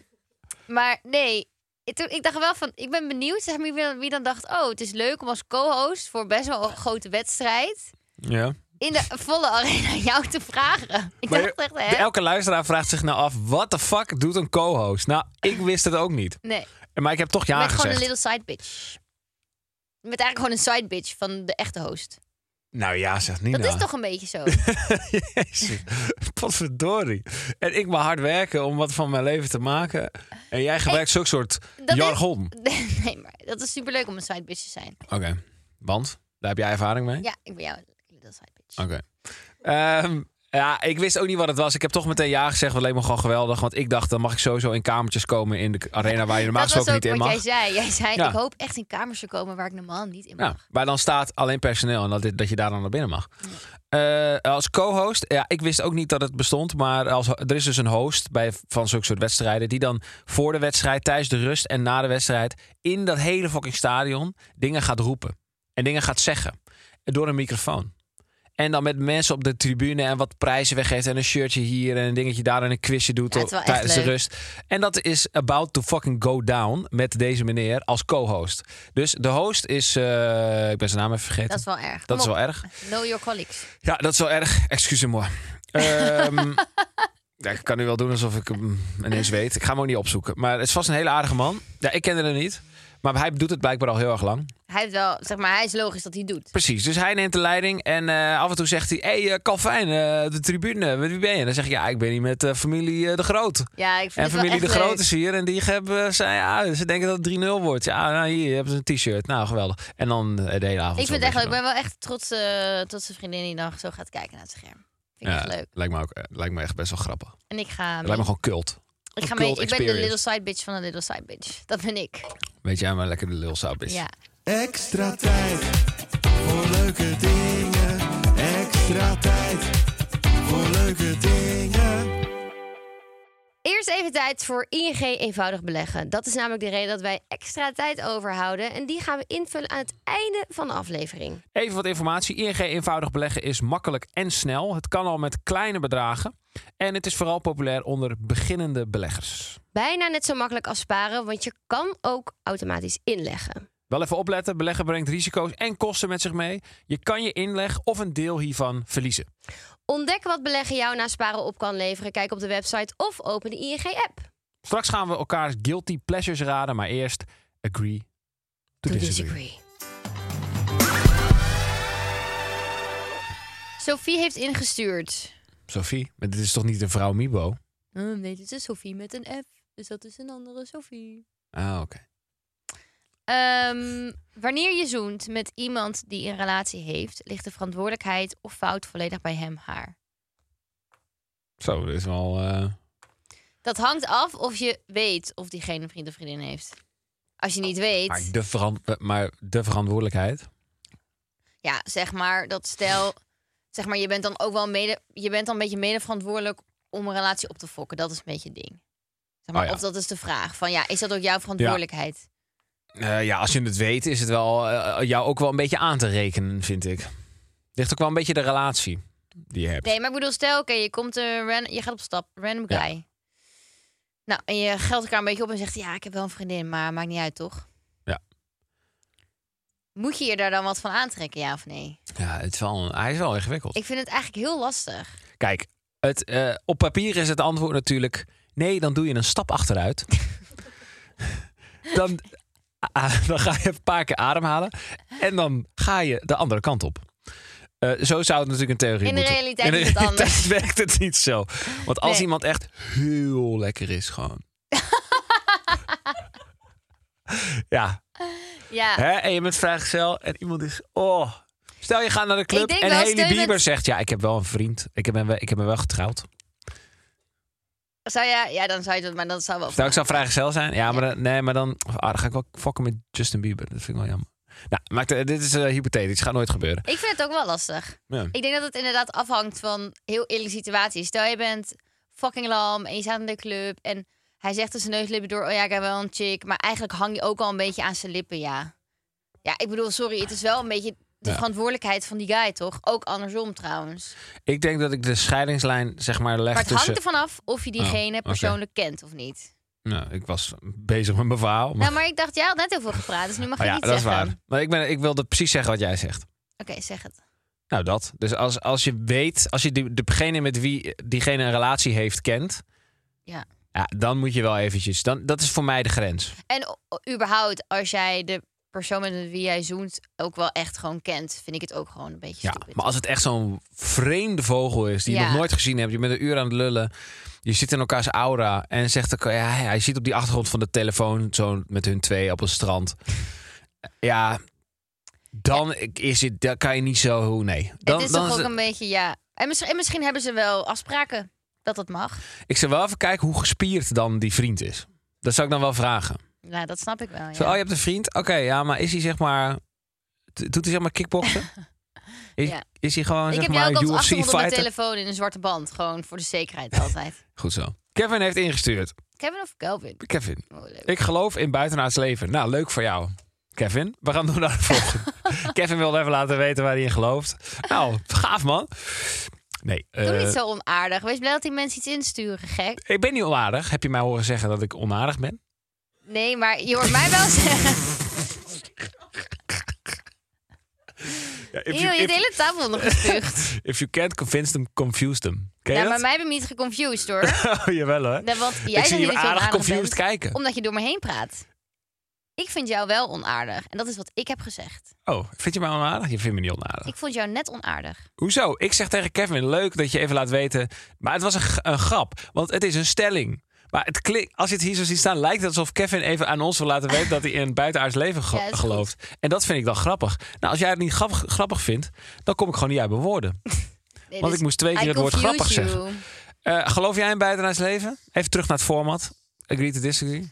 [SPEAKER 1] maar nee, ik, toen- ik dacht wel van, ik ben benieuwd zeg maar, wie, dan- wie dan dacht, oh, het is leuk om als co-host voor best wel een grote wedstrijd
[SPEAKER 2] Ja.
[SPEAKER 1] in de volle arena jou te vragen. Ik
[SPEAKER 2] Maar
[SPEAKER 1] dacht echt, hè?
[SPEAKER 2] Elke luisteraar vraagt zich nou af, wat de fuck doet een co-host? Nou, ik wist het ook niet.
[SPEAKER 1] Nee,
[SPEAKER 2] Maar ik heb toch ja
[SPEAKER 1] met gewoon een
[SPEAKER 2] gezegd.
[SPEAKER 1] little side bitch. Met eigenlijk gewoon een side bitch van de echte host.
[SPEAKER 2] Nou ja, zegt Nina.
[SPEAKER 1] Dat is toch een beetje zo?
[SPEAKER 2] Jezus, potverdorie. En ik moet hard werken om wat van mijn leven te maken. En jij gebruikt zulke soort
[SPEAKER 1] dat is-
[SPEAKER 2] jargon.
[SPEAKER 1] nee, maar dat is superleuk om een side bitch te zijn.
[SPEAKER 2] Oké, want daar heb jij ervaring mee?
[SPEAKER 1] Ja, ik ben jou een little side bitch.
[SPEAKER 2] Oké. Ehm, ja, ik wist ook niet wat het was. Ik heb toch meteen ja gezegd. Wat leek me gewoon geweldig. Want ik dacht, dan mag ik sowieso in kamertjes komen in de arena waar je normaal
[SPEAKER 1] dat was
[SPEAKER 2] gesproken
[SPEAKER 1] ook
[SPEAKER 2] niet in
[SPEAKER 1] wat
[SPEAKER 2] mag.
[SPEAKER 1] jij zei. Jij zei,
[SPEAKER 2] Ja.
[SPEAKER 1] ik hoop echt in kamers te komen waar ik normaal niet in
[SPEAKER 2] Ja,
[SPEAKER 1] mag.
[SPEAKER 2] waar dan staat alleen personeel en dat, dit- dat je daar dan naar binnen mag. Eh, als co-host, ja, ik wist ook niet dat het bestond, maar als, er is dus een host bij, van zulke soort wedstrijden die dan voor de wedstrijd, tijdens de rust en na de wedstrijd in dat hele fucking stadion dingen gaat roepen en dingen gaat zeggen door een microfoon. En dan met mensen op de tribune en wat prijzen weggeeft. En een shirtje hier en een dingetje daar en een quizje doet
[SPEAKER 1] Ja,
[SPEAKER 2] op-
[SPEAKER 1] het is wel echt
[SPEAKER 2] tijdens de
[SPEAKER 1] leuk.
[SPEAKER 2] rust. En dat is about to fucking go down met deze meneer als co-host. Dus de host is, eh, ik ben zijn naam even vergeten.
[SPEAKER 1] Dat is wel erg.
[SPEAKER 2] Dat is
[SPEAKER 1] Kom
[SPEAKER 2] wel erg.
[SPEAKER 1] op. Know your colleagues.
[SPEAKER 2] Ja, dat is wel erg. Excusez-moi. Ehm, ja, ik kan nu wel doen alsof ik hem ineens weet. Ik ga hem ook niet opzoeken. Maar het is vast een hele aardige man. Ja, ik kende hem niet. Maar hij doet het blijkbaar al heel erg lang.
[SPEAKER 1] Hij heeft wel, zeg maar, hij is logisch dat hij het doet.
[SPEAKER 2] Precies, dus hij neemt de leiding en eh, af en toe zegt hij... hey, eh, Calvin, eh, de tribune, met wie ben je? Dan zeg je, ja, ik ben hier met eh, familie eh, De Groot.
[SPEAKER 1] Ja, ik vind
[SPEAKER 2] En
[SPEAKER 1] het wel
[SPEAKER 2] familie
[SPEAKER 1] echt eh,
[SPEAKER 2] De Groot
[SPEAKER 1] leuk.
[SPEAKER 2] is hier en die hebben, zei, ja, ze denken dat het 3-0 wordt. Ja, nou, hier, je hebt een t-shirt. Nou, geweldig. En dan eh, de hele avond.
[SPEAKER 1] Ik
[SPEAKER 2] zo
[SPEAKER 1] vind het echt
[SPEAKER 2] een
[SPEAKER 1] leuk. Ik
[SPEAKER 2] beetje
[SPEAKER 1] ben wel echt trots, eh trots de vriendin die dan zo gaat kijken naar het scherm. Vind ik
[SPEAKER 2] door.
[SPEAKER 1] echt
[SPEAKER 2] Ja,
[SPEAKER 1] leuk.
[SPEAKER 2] Lijkt me, ook, eh, lijkt me echt best wel grappig. Het
[SPEAKER 1] En ik ga mee.
[SPEAKER 2] lijkt me gewoon cult.
[SPEAKER 1] ik, ga
[SPEAKER 2] een
[SPEAKER 1] mee.
[SPEAKER 2] cult
[SPEAKER 1] ik ben de
[SPEAKER 2] experience.
[SPEAKER 1] little side bitch van de little side bitch. Dat ben ik.
[SPEAKER 2] Weet jij maar lekker de lil Saab is.
[SPEAKER 1] Ja.
[SPEAKER 4] Extra tijd voor leuke dingen. Extra tijd voor leuke dingen.
[SPEAKER 1] Eerst even tijd voor ING eenvoudig beleggen. Dat is namelijk de reden dat wij extra tijd overhouden. En die gaan we invullen aan het einde van de aflevering.
[SPEAKER 2] Even wat informatie. ING eenvoudig beleggen is makkelijk en snel. Het kan al met kleine bedragen. En het is vooral populair onder beginnende beleggers.
[SPEAKER 1] Bijna net zo makkelijk als sparen, want je kan ook automatisch inleggen.
[SPEAKER 2] Wel even opletten, beleggen brengt risico's en kosten met zich mee. Je kan je inleg of een deel hiervan verliezen.
[SPEAKER 1] Ontdek wat beleggen jou na sparen op kan leveren. Kijk op de website of open de ING-app.
[SPEAKER 2] Straks gaan we elkaars guilty pleasures raden, maar eerst agree to, disagree.
[SPEAKER 1] Sophie heeft ingestuurd.
[SPEAKER 2] Sophie, maar dit is toch niet een vrouw Mibo?
[SPEAKER 1] Oh, nee, dit is Sophie met een F. Dus dat is een andere Sophie.
[SPEAKER 2] Ah, oké.
[SPEAKER 1] Ehm, wanneer je zoent met iemand die een relatie heeft, ligt de verantwoordelijkheid of fout volledig bij hem haar.
[SPEAKER 2] Zo, dit is wel... eh,
[SPEAKER 1] Dat hangt af of je weet of diegene een vriend of vriendin heeft. Als je niet
[SPEAKER 2] Maar
[SPEAKER 1] weet,
[SPEAKER 2] de, veran- maar de verantwoordelijkheid.
[SPEAKER 1] ja, zeg maar dat stel, zeg maar je bent dan ook wel mede, je bent dan een beetje mede verantwoordelijk om een relatie op te fokken. Dat is een beetje het ding. Zeg maar,
[SPEAKER 2] Oh ja.
[SPEAKER 1] Of dat is de vraag van ja, is dat ook jouw verantwoordelijkheid?
[SPEAKER 2] Eh, ja, als je het weet, is het wel eh, jou ook wel een beetje aan te rekenen, vind ik. Ligt ook wel een beetje de relatie die je hebt.
[SPEAKER 1] Nee, maar ik bedoel, stel, oké, je komt een ran- je gaat op stap, random
[SPEAKER 2] Ja.
[SPEAKER 1] guy. Nou, en je geldt elkaar een beetje op en zegt, ja, ik heb wel een vriendin, maar maakt niet uit, toch?
[SPEAKER 2] Ja.
[SPEAKER 1] Moet je je daar dan wat van aantrekken, ja of nee?
[SPEAKER 2] Ja, het is wel, hij is wel ingewikkeld.
[SPEAKER 1] Ik vind het eigenlijk heel lastig.
[SPEAKER 2] Kijk, het, eh, op papier is het antwoord natuurlijk... Nee, dan doe je een stap achteruit. dan, ah, dan ga je een paar keer ademhalen. En dan ga je de andere kant op. Eh, zo zou het natuurlijk een theorie
[SPEAKER 1] In de
[SPEAKER 2] moeten.
[SPEAKER 1] realiteit
[SPEAKER 2] In de
[SPEAKER 1] is het
[SPEAKER 2] realiteit
[SPEAKER 1] anders.
[SPEAKER 2] werkt het niet zo. Want als
[SPEAKER 1] Nee.
[SPEAKER 2] iemand echt heel lekker is gewoon... ja,
[SPEAKER 1] Ja,
[SPEAKER 2] hè? en je bent vrijgezel en iemand is... Oh. Stel je gaat naar de club
[SPEAKER 1] denk
[SPEAKER 2] en
[SPEAKER 1] wel,
[SPEAKER 2] Haley
[SPEAKER 1] steun het-
[SPEAKER 2] Bieber zegt... Ja, ik heb wel een vriend. Ik heb, hem wel- ik heb me wel getrouwd.
[SPEAKER 1] zou je, ja, dan zou je dat, maar dat zou wel...
[SPEAKER 2] Stel, ik zou vrijgezel zijn. Ja, maar dan, nee, maar dan, ah, dan ga ik wel fokken met Justin Bieber. Dat vind ik wel jammer. Nou, maakt, eh, dit is eh, hypothetisch. Gaat nooit gebeuren.
[SPEAKER 1] Ik vind het ook wel lastig.
[SPEAKER 2] Ja.
[SPEAKER 1] Ik denk dat het inderdaad afhangt van heel eerlijke situaties. Stel, je bent fucking lam en je staat in de club en hij zegt tussen neuslippen door... oh ja, ik heb wel een chick, maar eigenlijk hang je ook al een beetje aan zijn lippen, ja. Ja, ik bedoel, sorry, het is wel een beetje de
[SPEAKER 2] Ja.
[SPEAKER 1] verantwoordelijkheid van die guy, toch? Ook andersom trouwens.
[SPEAKER 2] Ik denk dat ik de scheidingslijn zeg maar leg
[SPEAKER 1] Maar het
[SPEAKER 2] tussen...
[SPEAKER 1] hangt ervan af of je diegene
[SPEAKER 2] dus, eh, oh, oké.
[SPEAKER 1] persoonlijk kent of niet.
[SPEAKER 2] Nou, ik was bezig met mijn verhaal. Maar...
[SPEAKER 1] Nou, maar ik dacht, jij had net heel veel gepraat, dus nu mag
[SPEAKER 2] Oh
[SPEAKER 1] je
[SPEAKER 2] ja,
[SPEAKER 1] niet
[SPEAKER 2] dat is
[SPEAKER 1] zeggen.
[SPEAKER 2] waar. Maar ik, ben, ik wilde precies zeggen wat jij zegt.
[SPEAKER 1] Oké, zeg het.
[SPEAKER 2] Nou, dat. Dus als, als je weet, als je die- degene met wie diegene een relatie heeft kent,
[SPEAKER 1] Ja.
[SPEAKER 2] ja, dan moet je wel eventjes. Dan, dat is voor mij de grens.
[SPEAKER 1] En o- o- überhaupt, als jij de persoon met wie jij zoent ook wel echt gewoon kent, vind ik het ook gewoon een beetje
[SPEAKER 2] Ja.
[SPEAKER 1] stupid.
[SPEAKER 2] Maar als het echt zo'n vreemde vogel is die je
[SPEAKER 1] Ja.
[SPEAKER 2] nog nooit gezien hebt, je bent een uur aan het lullen, je zit in elkaars aura en zegt elkaar, ja, ja, je ziet op die achtergrond van de telefoon zo met hun twee op een strand. Ja, dan is het, dan kan je niet zo, nee. Dan,
[SPEAKER 1] het is
[SPEAKER 2] dan
[SPEAKER 1] toch ook
[SPEAKER 2] het-
[SPEAKER 1] een beetje, ja. En misschien, en misschien hebben ze wel afspraken dat dat mag.
[SPEAKER 2] Ik zou wel even kijken hoe gespierd dan die vriend is. Dat zou ik dan wel vragen.
[SPEAKER 1] Nou, dat snap ik wel. Ja.
[SPEAKER 2] Zo, oh, je hebt een vriend? Oké, ja, maar is hij zeg maar... d- Doet hij zeg maar kickboksen? Is,
[SPEAKER 1] Ja.
[SPEAKER 2] is hij gewoon
[SPEAKER 1] ik
[SPEAKER 2] zeg
[SPEAKER 1] heb jou
[SPEAKER 2] maar
[SPEAKER 1] ook altijd
[SPEAKER 2] UFC
[SPEAKER 1] achtergrond op mijn
[SPEAKER 2] fighter?
[SPEAKER 1] telefoon in een zwarte band. Gewoon voor de zekerheid altijd.
[SPEAKER 2] Goed zo. Kevin heeft ingestuurd.
[SPEAKER 1] Kevin of Kelvin?
[SPEAKER 2] Kevin,
[SPEAKER 1] Oh, leuk.
[SPEAKER 2] ik geloof in buitenaards leven. Nou, leuk voor jou. Kevin, we gaan door naar de volgende. Kevin wilde even laten weten waar hij in gelooft. Nou, gaaf man. Nee,
[SPEAKER 1] Doe
[SPEAKER 2] eh,
[SPEAKER 1] niet zo onaardig. Wees blij dat die mensen iets insturen, gek.
[SPEAKER 2] ik ben niet onaardig. Heb je mij horen zeggen dat ik onaardig ben?
[SPEAKER 1] Nee, maar je hoort mij wel zeggen. Eeuw, je hebt de hele tafel nog gespuugd.
[SPEAKER 2] If you can't convince them, confuse them. Ken je
[SPEAKER 1] Nou, maar
[SPEAKER 2] dat?
[SPEAKER 1] mij hebben we niet geconfused hoor.
[SPEAKER 2] Oh, jawel hoor.
[SPEAKER 1] Nee, Want jij
[SPEAKER 2] ik zie
[SPEAKER 1] zegt
[SPEAKER 2] je
[SPEAKER 1] niet dat je
[SPEAKER 2] aardig
[SPEAKER 1] onaardig
[SPEAKER 2] confused
[SPEAKER 1] bent,
[SPEAKER 2] kijken.
[SPEAKER 1] omdat je door me heen praat. Ik vind jou wel onaardig. En dat is wat ik heb gezegd.
[SPEAKER 2] Oh, vind je mij onaardig? Je vindt me niet onaardig.
[SPEAKER 1] Ik vond jou net onaardig.
[SPEAKER 2] Hoezo? Ik zeg tegen Kevin, leuk dat je even laat weten. Maar het was een, g- een grap, want het is een stelling. Maar het klinkt, als je het hier zo ziet staan, lijkt het alsof Kevin even aan ons wil laten weten dat hij in het buitenaards leven ge-
[SPEAKER 1] Ja, is goed.
[SPEAKER 2] gelooft. En dat vind ik dan grappig. Nou, als jij het niet grappig, grappig vindt, dan kom ik gewoon niet uit mijn woorden.
[SPEAKER 1] Nee,
[SPEAKER 2] Want
[SPEAKER 1] dus
[SPEAKER 2] ik moest twee keer
[SPEAKER 1] I
[SPEAKER 2] het woord
[SPEAKER 1] confuse
[SPEAKER 2] grappig zeggen.
[SPEAKER 1] you.
[SPEAKER 2] Eh, geloof jij in buitenaards leven? Even terug naar het format. Agree to disagree.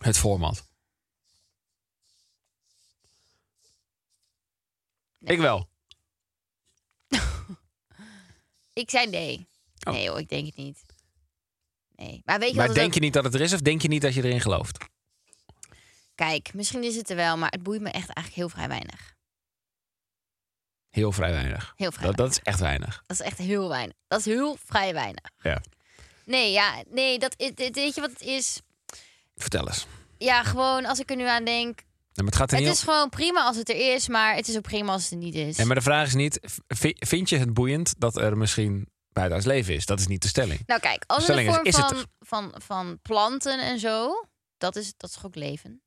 [SPEAKER 2] Het format.
[SPEAKER 1] Nee.
[SPEAKER 2] Ik wel.
[SPEAKER 1] Ik zei nee.
[SPEAKER 2] Oh.
[SPEAKER 1] Nee hoor, ik denk het niet. Nee. Maar weet je
[SPEAKER 2] Maar
[SPEAKER 1] wat?
[SPEAKER 2] denk je niet dat het er is of denk je niet dat je erin gelooft?
[SPEAKER 1] Kijk, misschien is het er wel, maar het boeit me echt eigenlijk heel vrij weinig.
[SPEAKER 2] Heel vrij weinig.
[SPEAKER 1] Heel vrij
[SPEAKER 2] Dat, dat is echt weinig.
[SPEAKER 1] Dat is echt heel weinig. Dat is heel vrij weinig.
[SPEAKER 2] Ja.
[SPEAKER 1] Nee, ja, nee, dat is, dit- weet je wat het is?
[SPEAKER 2] Vertel eens.
[SPEAKER 1] Ja, gewoon als ik er nu aan denk.
[SPEAKER 2] Nee, maar het gaat er
[SPEAKER 1] Het
[SPEAKER 2] niet om-
[SPEAKER 1] is gewoon prima als het er is, maar het is ook prima als het er niet is.
[SPEAKER 2] Nee, maar de vraag is niet, v- vi- vind je het boeiend dat er misschien buitenaards leven is? Dat is niet de stelling.
[SPEAKER 1] Nou kijk, als het
[SPEAKER 2] Stelling
[SPEAKER 1] een
[SPEAKER 2] is,
[SPEAKER 1] vorm
[SPEAKER 2] is het
[SPEAKER 1] van, van, van planten en zo, dat is, dat is toch ook leven?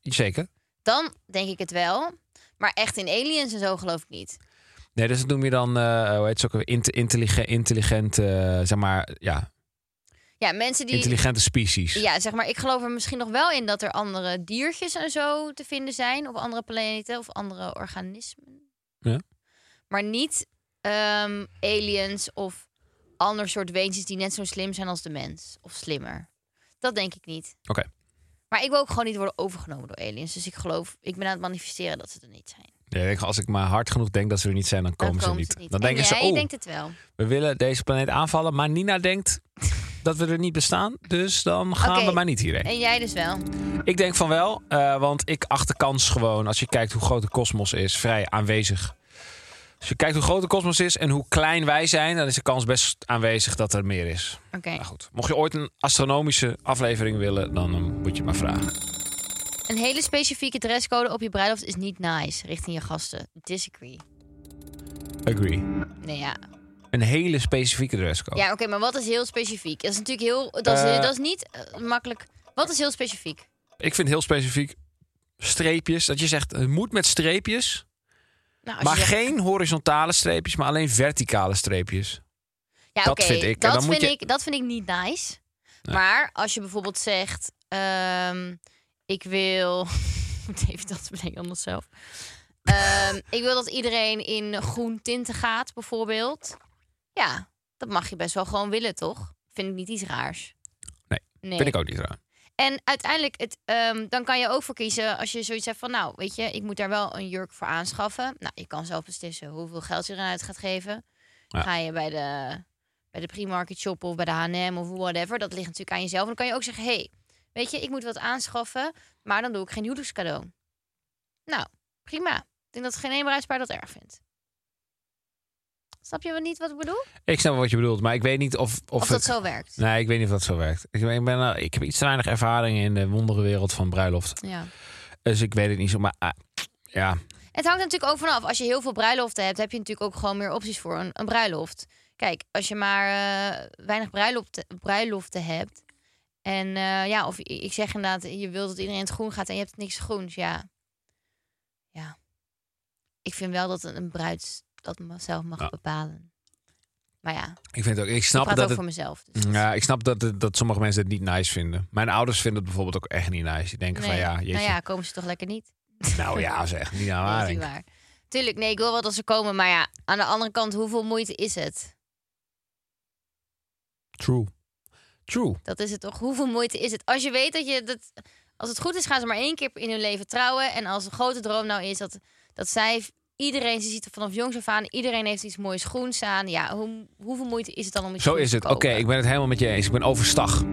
[SPEAKER 2] Zeker.
[SPEAKER 1] Dan denk ik het wel. Maar echt in aliens en zo geloof ik niet.
[SPEAKER 2] Nee, dus dat noem je dan, eh, hoe heet ze ook alweer, Int- intelligent, intelligent eh, zeg maar, ja,
[SPEAKER 1] Ja, mensen die
[SPEAKER 2] intelligente species.
[SPEAKER 1] Ja, zeg maar, ik geloof er misschien nog wel in dat er andere diertjes en zo te vinden zijn op andere planeten of andere organismen.
[SPEAKER 2] Ja.
[SPEAKER 1] Maar niet ehm, aliens of ander soort wezens die net zo slim zijn als de mens of slimmer. Dat denk ik niet.
[SPEAKER 2] Oké.
[SPEAKER 1] Maar ik wil ook gewoon niet worden overgenomen door aliens. Dus ik geloof, ik ben aan het manifesteren dat ze er niet zijn.
[SPEAKER 2] Nee, ik denk, als ik maar hard genoeg denk dat ze er niet zijn, dan
[SPEAKER 1] Dan
[SPEAKER 2] komen, ze niet. Dan
[SPEAKER 1] En
[SPEAKER 2] denken ze,
[SPEAKER 1] jij
[SPEAKER 2] oh,
[SPEAKER 1] denkt het wel.
[SPEAKER 2] we willen deze planeet aanvallen, maar Nina denkt dat we er niet bestaan, dus dan gaan
[SPEAKER 1] Oké.
[SPEAKER 2] we maar niet hierheen.
[SPEAKER 1] En jij dus wel.
[SPEAKER 2] Ik denk van wel, eh, want ik acht de kans gewoon, als je kijkt hoe groot de kosmos is, vrij aanwezig. Als je kijkt hoe groot de kosmos is en hoe klein wij zijn, dan is de kans best aanwezig dat er meer is.
[SPEAKER 1] Oké.
[SPEAKER 2] Maar goed, mocht je ooit een astronomische aflevering willen, dan eh, moet je het maar vragen.
[SPEAKER 1] Een hele specifieke dresscode op je bruiloft is niet nice richting je gasten. Disagree.
[SPEAKER 2] Agree.
[SPEAKER 1] Nee ja.
[SPEAKER 2] Een hele specifieke dresscode.
[SPEAKER 1] Ja, oké, maar wat is heel specifiek? Dat is natuurlijk heel. Dat is,
[SPEAKER 2] Oh. Eh.
[SPEAKER 1] dat is niet eh, makkelijk. Wat is heel specifiek?
[SPEAKER 2] Ik vind heel specifiek streepjes, dat je zegt, het moet met streepjes,
[SPEAKER 1] Nou, als
[SPEAKER 2] maar
[SPEAKER 1] je zegt-
[SPEAKER 2] geen horizontale streepjes, maar alleen verticale streepjes.
[SPEAKER 1] ja,
[SPEAKER 2] dat
[SPEAKER 1] oké,
[SPEAKER 2] vind ik. En
[SPEAKER 1] Dat,
[SPEAKER 2] dan moet
[SPEAKER 1] vind
[SPEAKER 2] je-
[SPEAKER 1] ik dat vind ik niet nice.
[SPEAKER 2] Nee.
[SPEAKER 1] Maar als je bijvoorbeeld zegt: ehm, Ik wil. Ik moet even dat bedenken anders zelf. Ehm, ik wil dat iedereen in groen tinten gaat, bijvoorbeeld. Ja, dat mag je best wel gewoon willen, toch? Vind ik niet iets raars.
[SPEAKER 2] Nee,
[SPEAKER 1] nee.
[SPEAKER 2] Vind ik ook niet raar.
[SPEAKER 1] En uiteindelijk, het, ehm, dan kan je ook voor kiezen als je zoiets hebt van, nou, weet je, ik moet daar wel een jurk voor aanschaffen. Nou, je kan zelf beslissen hoeveel geld je eraan uit gaat geven.
[SPEAKER 2] Ja.
[SPEAKER 1] Ga je bij de, bij de pre-market shop of bij de H&M of whatever. Dat ligt natuurlijk aan jezelf. En dan kan je ook zeggen, hey, weet je, ik moet wat aanschaffen, maar dan doe ik geen huwelijkscadeau. Nou, prima. Ik denk dat geen één bruidspaar dat erg vindt. Snap je wel niet wat ik bedoel?
[SPEAKER 2] Ik snap wat je bedoelt, maar ik weet niet of, of,
[SPEAKER 1] Of, dat
[SPEAKER 2] het-
[SPEAKER 1] zo werkt.
[SPEAKER 2] Nee, ik weet niet of dat zo werkt. Ik, ben, ik, ben, eh, ik heb iets te weinig ervaring in de wondere wereld van bruiloft.
[SPEAKER 1] Ja.
[SPEAKER 2] Dus ik weet het niet zo. Maar ah, ja,
[SPEAKER 1] Het hangt natuurlijk ook vanaf. Als je heel veel bruiloften hebt, heb je natuurlijk ook gewoon meer opties voor een, een bruiloft. Kijk, als je maar eh, weinig bruiloften, bruiloften hebt. En eh, ja, of i- ik zeg inderdaad, je wilt dat iedereen in het groen gaat en je hebt niks groens. Ja. Ja. Ik vind wel dat een een bruid dat ma- zelf mag
[SPEAKER 2] Ja.
[SPEAKER 1] bepalen. Maar ja,
[SPEAKER 2] Ik, vind het ook, ik
[SPEAKER 1] ik
[SPEAKER 2] snap
[SPEAKER 1] praat ook
[SPEAKER 2] dat het
[SPEAKER 1] voor mezelf. dus dat-
[SPEAKER 2] Ja, ik snap dat, het- dat sommige mensen het niet nice vinden. Mijn ouders vinden het bijvoorbeeld ook echt niet nice. Die denken van
[SPEAKER 1] Nee.
[SPEAKER 2] ja, jeetje,
[SPEAKER 1] nou ja, komen ze toch lekker niet?
[SPEAKER 2] nou ja, zeg, niet aan
[SPEAKER 1] Nee, dat is
[SPEAKER 2] aanhaling.
[SPEAKER 1] niet waar. Tuurlijk, nee, ik wil wel dat ze komen. Maar ja, aan de andere kant, hoeveel moeite is het?
[SPEAKER 2] True. True.
[SPEAKER 1] Dat is het toch? Hoeveel moeite is het? Als je weet dat je dat. Als het goed is, gaan ze maar één keer in hun leven trouwen. En als een grote droom nou is dat, dat zij iedereen, ze ziet er vanaf jongs af aan, iedereen heeft iets moois groens aan. Ja, hoe, hoeveel moeite is het dan om iets
[SPEAKER 2] Zo
[SPEAKER 1] groens
[SPEAKER 2] is
[SPEAKER 1] te
[SPEAKER 2] het. Oké,
[SPEAKER 1] kopen?
[SPEAKER 2] ik ben het helemaal met je eens. Ik ben overstag.
[SPEAKER 1] Je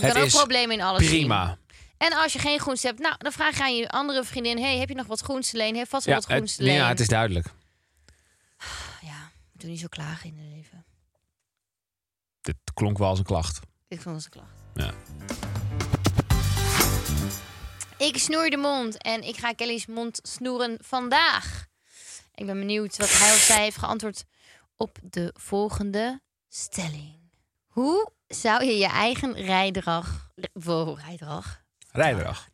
[SPEAKER 2] het
[SPEAKER 1] kan ook
[SPEAKER 2] is
[SPEAKER 1] problemen in alles zien.
[SPEAKER 2] Prima.
[SPEAKER 1] En als je geen groens hebt, nou, dan vraag je aan je andere vriendin: hey, heb je nog wat groens te lenen? Heeft vast wel
[SPEAKER 2] Ja
[SPEAKER 1] wat groens
[SPEAKER 2] het,
[SPEAKER 1] te lenen. Nou
[SPEAKER 2] ja, het is duidelijk.
[SPEAKER 1] ja, doe niet zo klagen in het leven.
[SPEAKER 2] Dit klonk wel als een klacht.
[SPEAKER 1] Ik vond het een klacht.
[SPEAKER 2] Ja.
[SPEAKER 1] Ik snoer de mond en ik ga Kelly's mond snoeren vandaag. Ik ben benieuwd wat hij of zij heeft geantwoord op de volgende stelling. Hoe zou je je eigen rijdrag... Wow, rijdrag.
[SPEAKER 2] Rijdrag.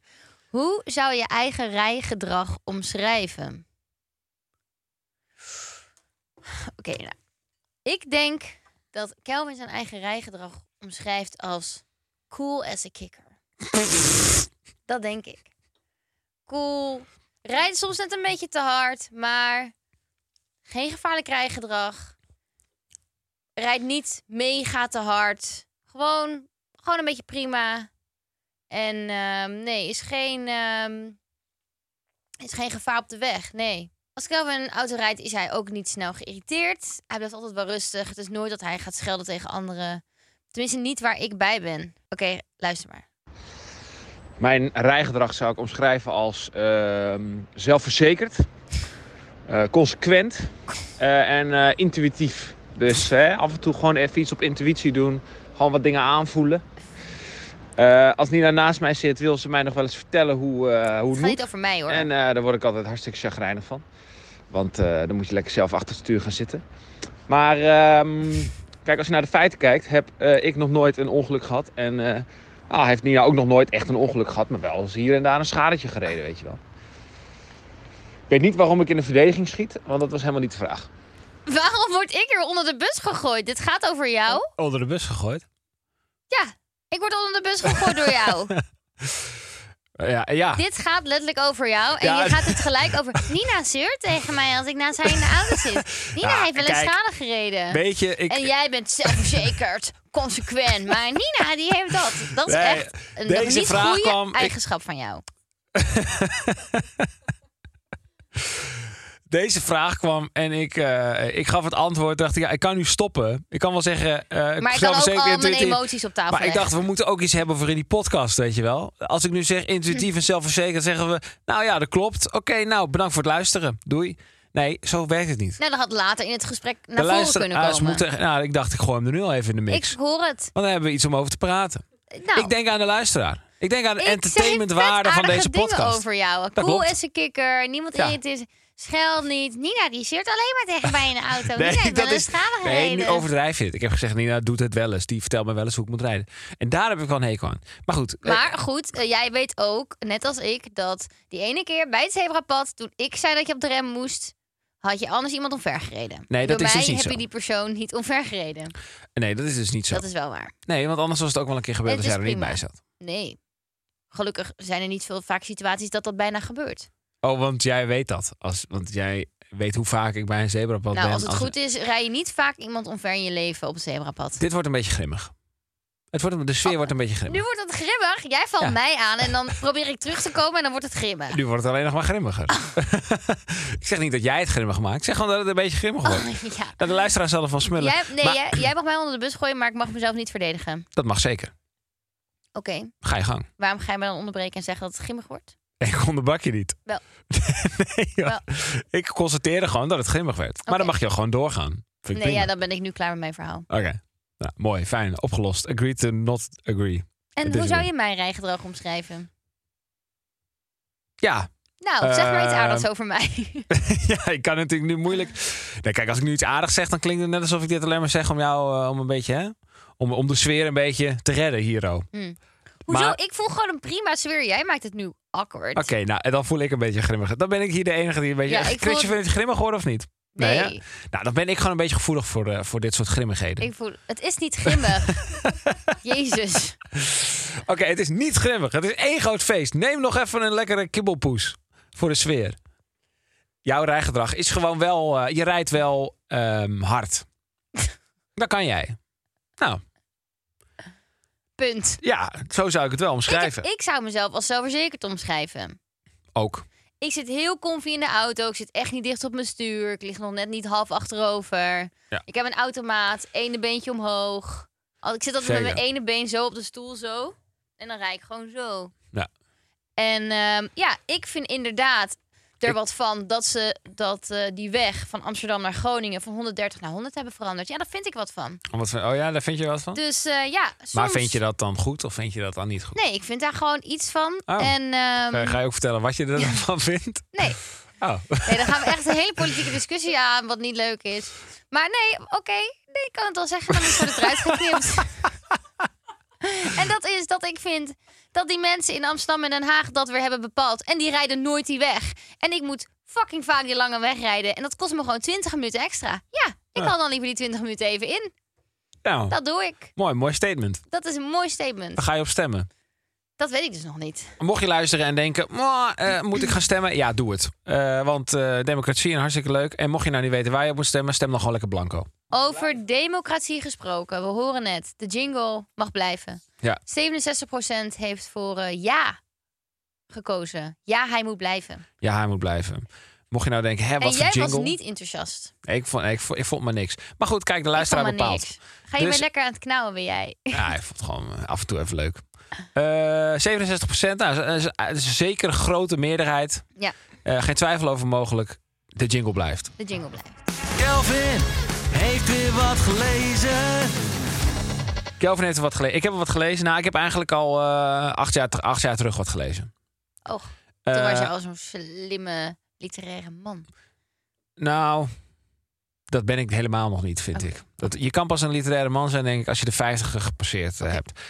[SPEAKER 1] Hoe zou je eigen rijgedrag omschrijven? Oké, nou. Ik denk dat Kelvin zijn eigen rijgedrag omschrijft als cool as a kicker. dat denk ik. Cool. Rijdt soms net een beetje te hard, maar geen gevaarlijk rijgedrag. Rijdt niet mega te hard. Gewoon, gewoon een beetje prima. En ehm, nee, is geen, ehm, is geen gevaar op de weg. Nee. Als Kelvin een auto rijdt, is hij ook niet snel geïrriteerd. Hij blijft altijd wel rustig. Het is nooit dat hij gaat schelden tegen anderen. Tenminste, niet waar ik bij ben. Oké, luister maar.
[SPEAKER 5] Mijn rijgedrag zou ik omschrijven als ehm, zelfverzekerd, eh, consequent eh, en eh, intuïtief. Dus hè, af en toe gewoon even iets op intuïtie doen, gewoon wat dingen aanvoelen. Eh, als Nina naast mij zit, wil ze mij nog wel eens vertellen hoe, eh, hoe
[SPEAKER 1] Het
[SPEAKER 5] het
[SPEAKER 1] gaat
[SPEAKER 5] moet.
[SPEAKER 1] niet over mij hoor.
[SPEAKER 5] En eh, daar word ik altijd hartstikke chagrijnig van. Want eh, dan moet je lekker zelf achter het stuur gaan zitten. Maar ehm, kijk, als je naar de feiten kijkt, heb eh, ik nog nooit een ongeluk gehad. En eh ah, heeft Nina ook nog nooit echt een ongeluk gehad. Maar wel eens hier en daar een schadetje gereden, weet je wel. Ik weet niet waarom ik in de verdediging schiet, want dat was helemaal niet de vraag.
[SPEAKER 1] Waarom word ik er onder de bus gegooid? Dit gaat over jou?
[SPEAKER 2] Onder de bus gegooid.
[SPEAKER 1] Ja, ik word onder de bus gegooid door jou.
[SPEAKER 2] Eh, Ja, ja.
[SPEAKER 1] Dit gaat letterlijk over jou. En
[SPEAKER 2] Ja,
[SPEAKER 1] je gaat het gelijk over. Nina zeurt tegen mij als ik naast haar in de auto zit. Nina
[SPEAKER 2] Ja,
[SPEAKER 1] heeft wel eens
[SPEAKER 2] kijk.
[SPEAKER 1] schade gereden.
[SPEAKER 2] Weet je, ik...
[SPEAKER 1] En jij bent zelfverzekerd, consequent. Maar Nina, die heeft dat. Dat is
[SPEAKER 2] Nee,
[SPEAKER 1] echt een
[SPEAKER 2] deze
[SPEAKER 1] nog niet
[SPEAKER 2] vraag
[SPEAKER 1] goede
[SPEAKER 2] kwam-
[SPEAKER 1] eigenschap van jou.
[SPEAKER 2] Deze vraag kwam en ik, eh, ik gaf het antwoord. Dacht ik, ja, ik kan nu stoppen. Ik kan wel zeggen... eh,
[SPEAKER 1] Maar ik
[SPEAKER 2] zelf
[SPEAKER 1] kan ook
[SPEAKER 2] verzekerd,
[SPEAKER 1] al mijn
[SPEAKER 2] intuïtief.
[SPEAKER 1] emoties op tafel
[SPEAKER 2] Maar ik
[SPEAKER 1] leggen.
[SPEAKER 2] dacht, we moeten ook iets hebben voor in die podcast, weet je wel. Als ik nu zeg intuïtief en zelfverzekerd, zeggen we... Nou ja, dat klopt. Oké, nou, bedankt voor het luisteren. Doei. Nee, zo werkt het niet.
[SPEAKER 1] Nou, dat had later in het gesprek naar
[SPEAKER 2] De
[SPEAKER 1] voren kunnen
[SPEAKER 2] luisteraars
[SPEAKER 1] komen.
[SPEAKER 2] moeten... Nou, ik dacht, ik gooi hem er nu al even in de
[SPEAKER 1] ik
[SPEAKER 2] mix.
[SPEAKER 1] hoor het.
[SPEAKER 2] Want dan hebben we iets om over te praten.
[SPEAKER 1] Nou,
[SPEAKER 2] ik denk aan de luisteraar. Ik denk aan de
[SPEAKER 1] ik
[SPEAKER 2] entertainmentwaarde
[SPEAKER 1] zeg vet
[SPEAKER 2] van deze
[SPEAKER 1] aardige dingen
[SPEAKER 2] podcast.
[SPEAKER 1] over jou.
[SPEAKER 2] Dat
[SPEAKER 1] Cool
[SPEAKER 2] klopt.
[SPEAKER 1] is een kikker. Niemand
[SPEAKER 2] Ja.
[SPEAKER 1] irriteert. Scheld niet. Nina, die zeurt alleen maar tegen mij in de auto.
[SPEAKER 2] Nee,
[SPEAKER 1] Nina heeft
[SPEAKER 2] dat
[SPEAKER 1] wel een
[SPEAKER 2] is-
[SPEAKER 1] schade
[SPEAKER 2] Nee, nu
[SPEAKER 1] gereden.
[SPEAKER 2] overdrijf je het. Ik heb gezegd, Nina doet het wel eens. Die vertelt me wel eens hoe ik moet rijden. En daar heb ik wel een hekel aan. Maar goed. eh,
[SPEAKER 1] Maar goed, eh, jij weet ook, net als ik, dat die ene keer bij het zebrapad, toen ik zei dat je op de rem moest, had je anders iemand omvergereden.
[SPEAKER 2] Nee, dat
[SPEAKER 1] Door
[SPEAKER 2] is
[SPEAKER 1] mij
[SPEAKER 2] dus niet
[SPEAKER 1] heb
[SPEAKER 2] zo.
[SPEAKER 1] je die persoon niet omvergereden.
[SPEAKER 2] nee, dat is dus niet zo.
[SPEAKER 1] Dat is wel waar.
[SPEAKER 2] Nee, want anders was het ook wel een keer gebeurd
[SPEAKER 1] Het
[SPEAKER 2] als jij
[SPEAKER 1] is
[SPEAKER 2] er niet bij
[SPEAKER 1] prima.
[SPEAKER 2] zat.
[SPEAKER 1] Nee. Gelukkig zijn er niet veel vaak situaties dat dat bijna gebeurt.
[SPEAKER 2] Oh, want jij weet dat. Als, want jij weet hoe vaak ik bij een zebrapad
[SPEAKER 1] nou,
[SPEAKER 2] ben.
[SPEAKER 1] als het goed is, rij je niet vaak iemand omver in je leven op het zebrapad.
[SPEAKER 2] Dit wordt een beetje grimmig. Het wordt, een- de
[SPEAKER 1] Oh.
[SPEAKER 2] sfeer wordt een beetje
[SPEAKER 1] Nu
[SPEAKER 2] grimmig.
[SPEAKER 1] wordt het grimmig. Jij valt
[SPEAKER 2] Ja.
[SPEAKER 1] mij aan en dan probeer ik terug te komen en dan wordt het grimmig.
[SPEAKER 2] Nu wordt het alleen nog maar grimmiger.
[SPEAKER 1] Oh.
[SPEAKER 2] ik zeg niet dat jij het grimmig maakt. Ik zeg gewoon dat het een beetje grimmig wordt.
[SPEAKER 1] ja.
[SPEAKER 2] Nou, de luisteraar zal ervan smullen.
[SPEAKER 1] Oh. Jij, nee,
[SPEAKER 2] Maar-
[SPEAKER 1] jij, jij mag mij onder de bus gooien, maar ik mag mezelf niet verdedigen.
[SPEAKER 2] Dat mag zeker.
[SPEAKER 1] Oké.
[SPEAKER 2] Ga je gang.
[SPEAKER 1] Waarom ga je mij dan onderbreken en zeggen dat het grimmig wordt?
[SPEAKER 2] Ik onderbak je niet.
[SPEAKER 1] Wel.
[SPEAKER 2] nee, joh.
[SPEAKER 1] Wel.
[SPEAKER 2] Ik constateerde gewoon dat het grimmig werd. Maar
[SPEAKER 1] Oké.
[SPEAKER 2] dan mag je gewoon doorgaan. Vind ik
[SPEAKER 1] Nee, ja,
[SPEAKER 2] prima.
[SPEAKER 1] dan ben ik nu klaar met mijn verhaal.
[SPEAKER 2] Oké. Nou, mooi, fijn, opgelost. Agree to not agree.
[SPEAKER 1] En
[SPEAKER 2] Het
[SPEAKER 1] hoe
[SPEAKER 2] is
[SPEAKER 1] zou
[SPEAKER 2] weer-
[SPEAKER 1] je mijn rijgedrag omschrijven?
[SPEAKER 2] Ja,
[SPEAKER 1] Nou, zeg maar iets
[SPEAKER 2] Ehm,
[SPEAKER 1] aardigs over mij.
[SPEAKER 2] ja, ik kan natuurlijk nu moeilijk. Nee, kijk, als ik nu iets aardigs zeg, dan klinkt het net alsof ik dit alleen maar zeg om jou eh, om een beetje, hè? Om, om de sfeer een beetje te redden hier. Oké,
[SPEAKER 1] Hoezo?
[SPEAKER 2] maar-
[SPEAKER 1] Ik voel gewoon een prima sfeer. Jij maakt het nu awkward.
[SPEAKER 2] nou, en dan voel ik een beetje grimmig. Dan ben ik hier de enige die een beetje.
[SPEAKER 1] Ja, ik voel
[SPEAKER 2] Chrisje,
[SPEAKER 1] het-
[SPEAKER 2] vind je het grimmig hoor of niet?
[SPEAKER 1] Nee,
[SPEAKER 2] hè? Nou, dan ben ik gewoon een beetje gevoelig voor, eh, voor dit soort grimmigheden.
[SPEAKER 1] ik voel... Het is niet grimmig. Jezus.
[SPEAKER 2] Oké, het is niet grimmig. Het is één groot feest. Neem nog even een lekkere kibbelpoes voor de sfeer. Jouw rijgedrag is gewoon wel... eh, je rijdt wel ehm, hard. Dat kan jij. Nou,
[SPEAKER 1] Punt.
[SPEAKER 2] ja, zo zou ik het wel
[SPEAKER 1] Ik,
[SPEAKER 2] omschrijven.
[SPEAKER 1] ik zou mezelf als zelfverzekerd omschrijven.
[SPEAKER 2] Ook.
[SPEAKER 1] Ik zit heel comfy in de auto. Ik zit echt niet dicht op mijn stuur. Ik lig nog net niet half achterover.
[SPEAKER 2] Ja.
[SPEAKER 1] Ik heb een automaat. Ene beentje omhoog. Al- Ik zit altijd met
[SPEAKER 2] Zeker.
[SPEAKER 1] mijn ene been zo op de stoel zo. En dan rij ik gewoon zo.
[SPEAKER 2] Ja.
[SPEAKER 1] En ehm, ja, ik vind inderdaad er
[SPEAKER 2] Ik-
[SPEAKER 1] wat van dat ze dat, eh, die weg van Amsterdam naar Groningen van 130 naar 100 hebben veranderd. Ja, daar vind ik wat van.
[SPEAKER 2] Om wat van- oh ja, daar vind je wat van?
[SPEAKER 1] Dus eh, ja, soms...
[SPEAKER 2] Maar vind je dat dan goed of vind je dat dan niet goed?
[SPEAKER 1] Nee, ik vind daar gewoon iets van.
[SPEAKER 2] Oh.
[SPEAKER 1] En ehm,
[SPEAKER 2] Eh, ga je ook vertellen wat je er dan van vindt?
[SPEAKER 1] nee,
[SPEAKER 2] Oh,
[SPEAKER 1] Nee, dan gaan we echt een hele politieke discussie aan, wat niet leuk is. Maar nee, oké, nee, ik kan het wel zeggen, maar niet voor de eruit geknipt. en dat is dat ik vind dat die mensen in Amsterdam en Den Haag dat weer hebben bepaald. En die rijden nooit die weg. En ik moet fucking vaak die lange weg rijden. En dat kost me gewoon 20 minuten extra. Ja, ik haal dan liever die 20 minuten even in.
[SPEAKER 2] nou,
[SPEAKER 1] Dat doe ik.
[SPEAKER 2] mooi, mooi statement.
[SPEAKER 1] Dat is een mooi
[SPEAKER 2] Daar
[SPEAKER 1] statement.
[SPEAKER 2] ga je op stemmen.
[SPEAKER 1] Dat weet ik dus nog niet.
[SPEAKER 2] Mocht je luisteren en denken, "Mwah, eh, moet ik gaan stemmen? Ja, doe het. Eh, want eh, democratie en hartstikke leuk. En mocht je nou niet weten waar je op moet stemmen, stem dan gewoon lekker blanco.
[SPEAKER 1] Over democratie gesproken. We horen het. De jingle mag blijven.
[SPEAKER 2] Ja.
[SPEAKER 1] 67% heeft voor eh, ja gekozen. Ja, hij moet blijven.
[SPEAKER 2] Ja, hij moet blijven. Mocht je nou denken, hè, wat
[SPEAKER 1] en
[SPEAKER 2] voor
[SPEAKER 1] jij
[SPEAKER 2] jingle?
[SPEAKER 1] was niet enthousiast.
[SPEAKER 2] Ik, vond, ik, vond, ik vond maar niks. Maar goed, kijk, de
[SPEAKER 1] Ik vond
[SPEAKER 2] luisteraar
[SPEAKER 1] maar
[SPEAKER 2] bepaalt.
[SPEAKER 1] niks. Ga je
[SPEAKER 2] Dus-
[SPEAKER 1] weer lekker aan het knauwen, ben jij?
[SPEAKER 2] Ja, ik vond het gewoon eh, af en toe even leuk. Eh 67 procent, nou, dat is- dat is een zekere grote meerderheid.
[SPEAKER 1] Ja,
[SPEAKER 2] Eh, geen twijfel over mogelijk. De jingle blijft.
[SPEAKER 1] de jingle blijft.
[SPEAKER 4] Kelvin heeft weer wat gelezen.
[SPEAKER 2] Kelvin heeft er wat gelezen. Ik heb er wat gelezen. Nou, ik heb eigenlijk al eh, acht, jaar, acht jaar terug wat gelezen.
[SPEAKER 1] Och, toen was
[SPEAKER 2] Eh,
[SPEAKER 1] je al zo'n slimme literaire man.
[SPEAKER 2] Nou, dat ben ik helemaal nog niet, vind
[SPEAKER 1] Oh.
[SPEAKER 2] ik. Dat, je kan pas een literaire man zijn, denk ik, als je de 50 gepasseerd eh, hebt.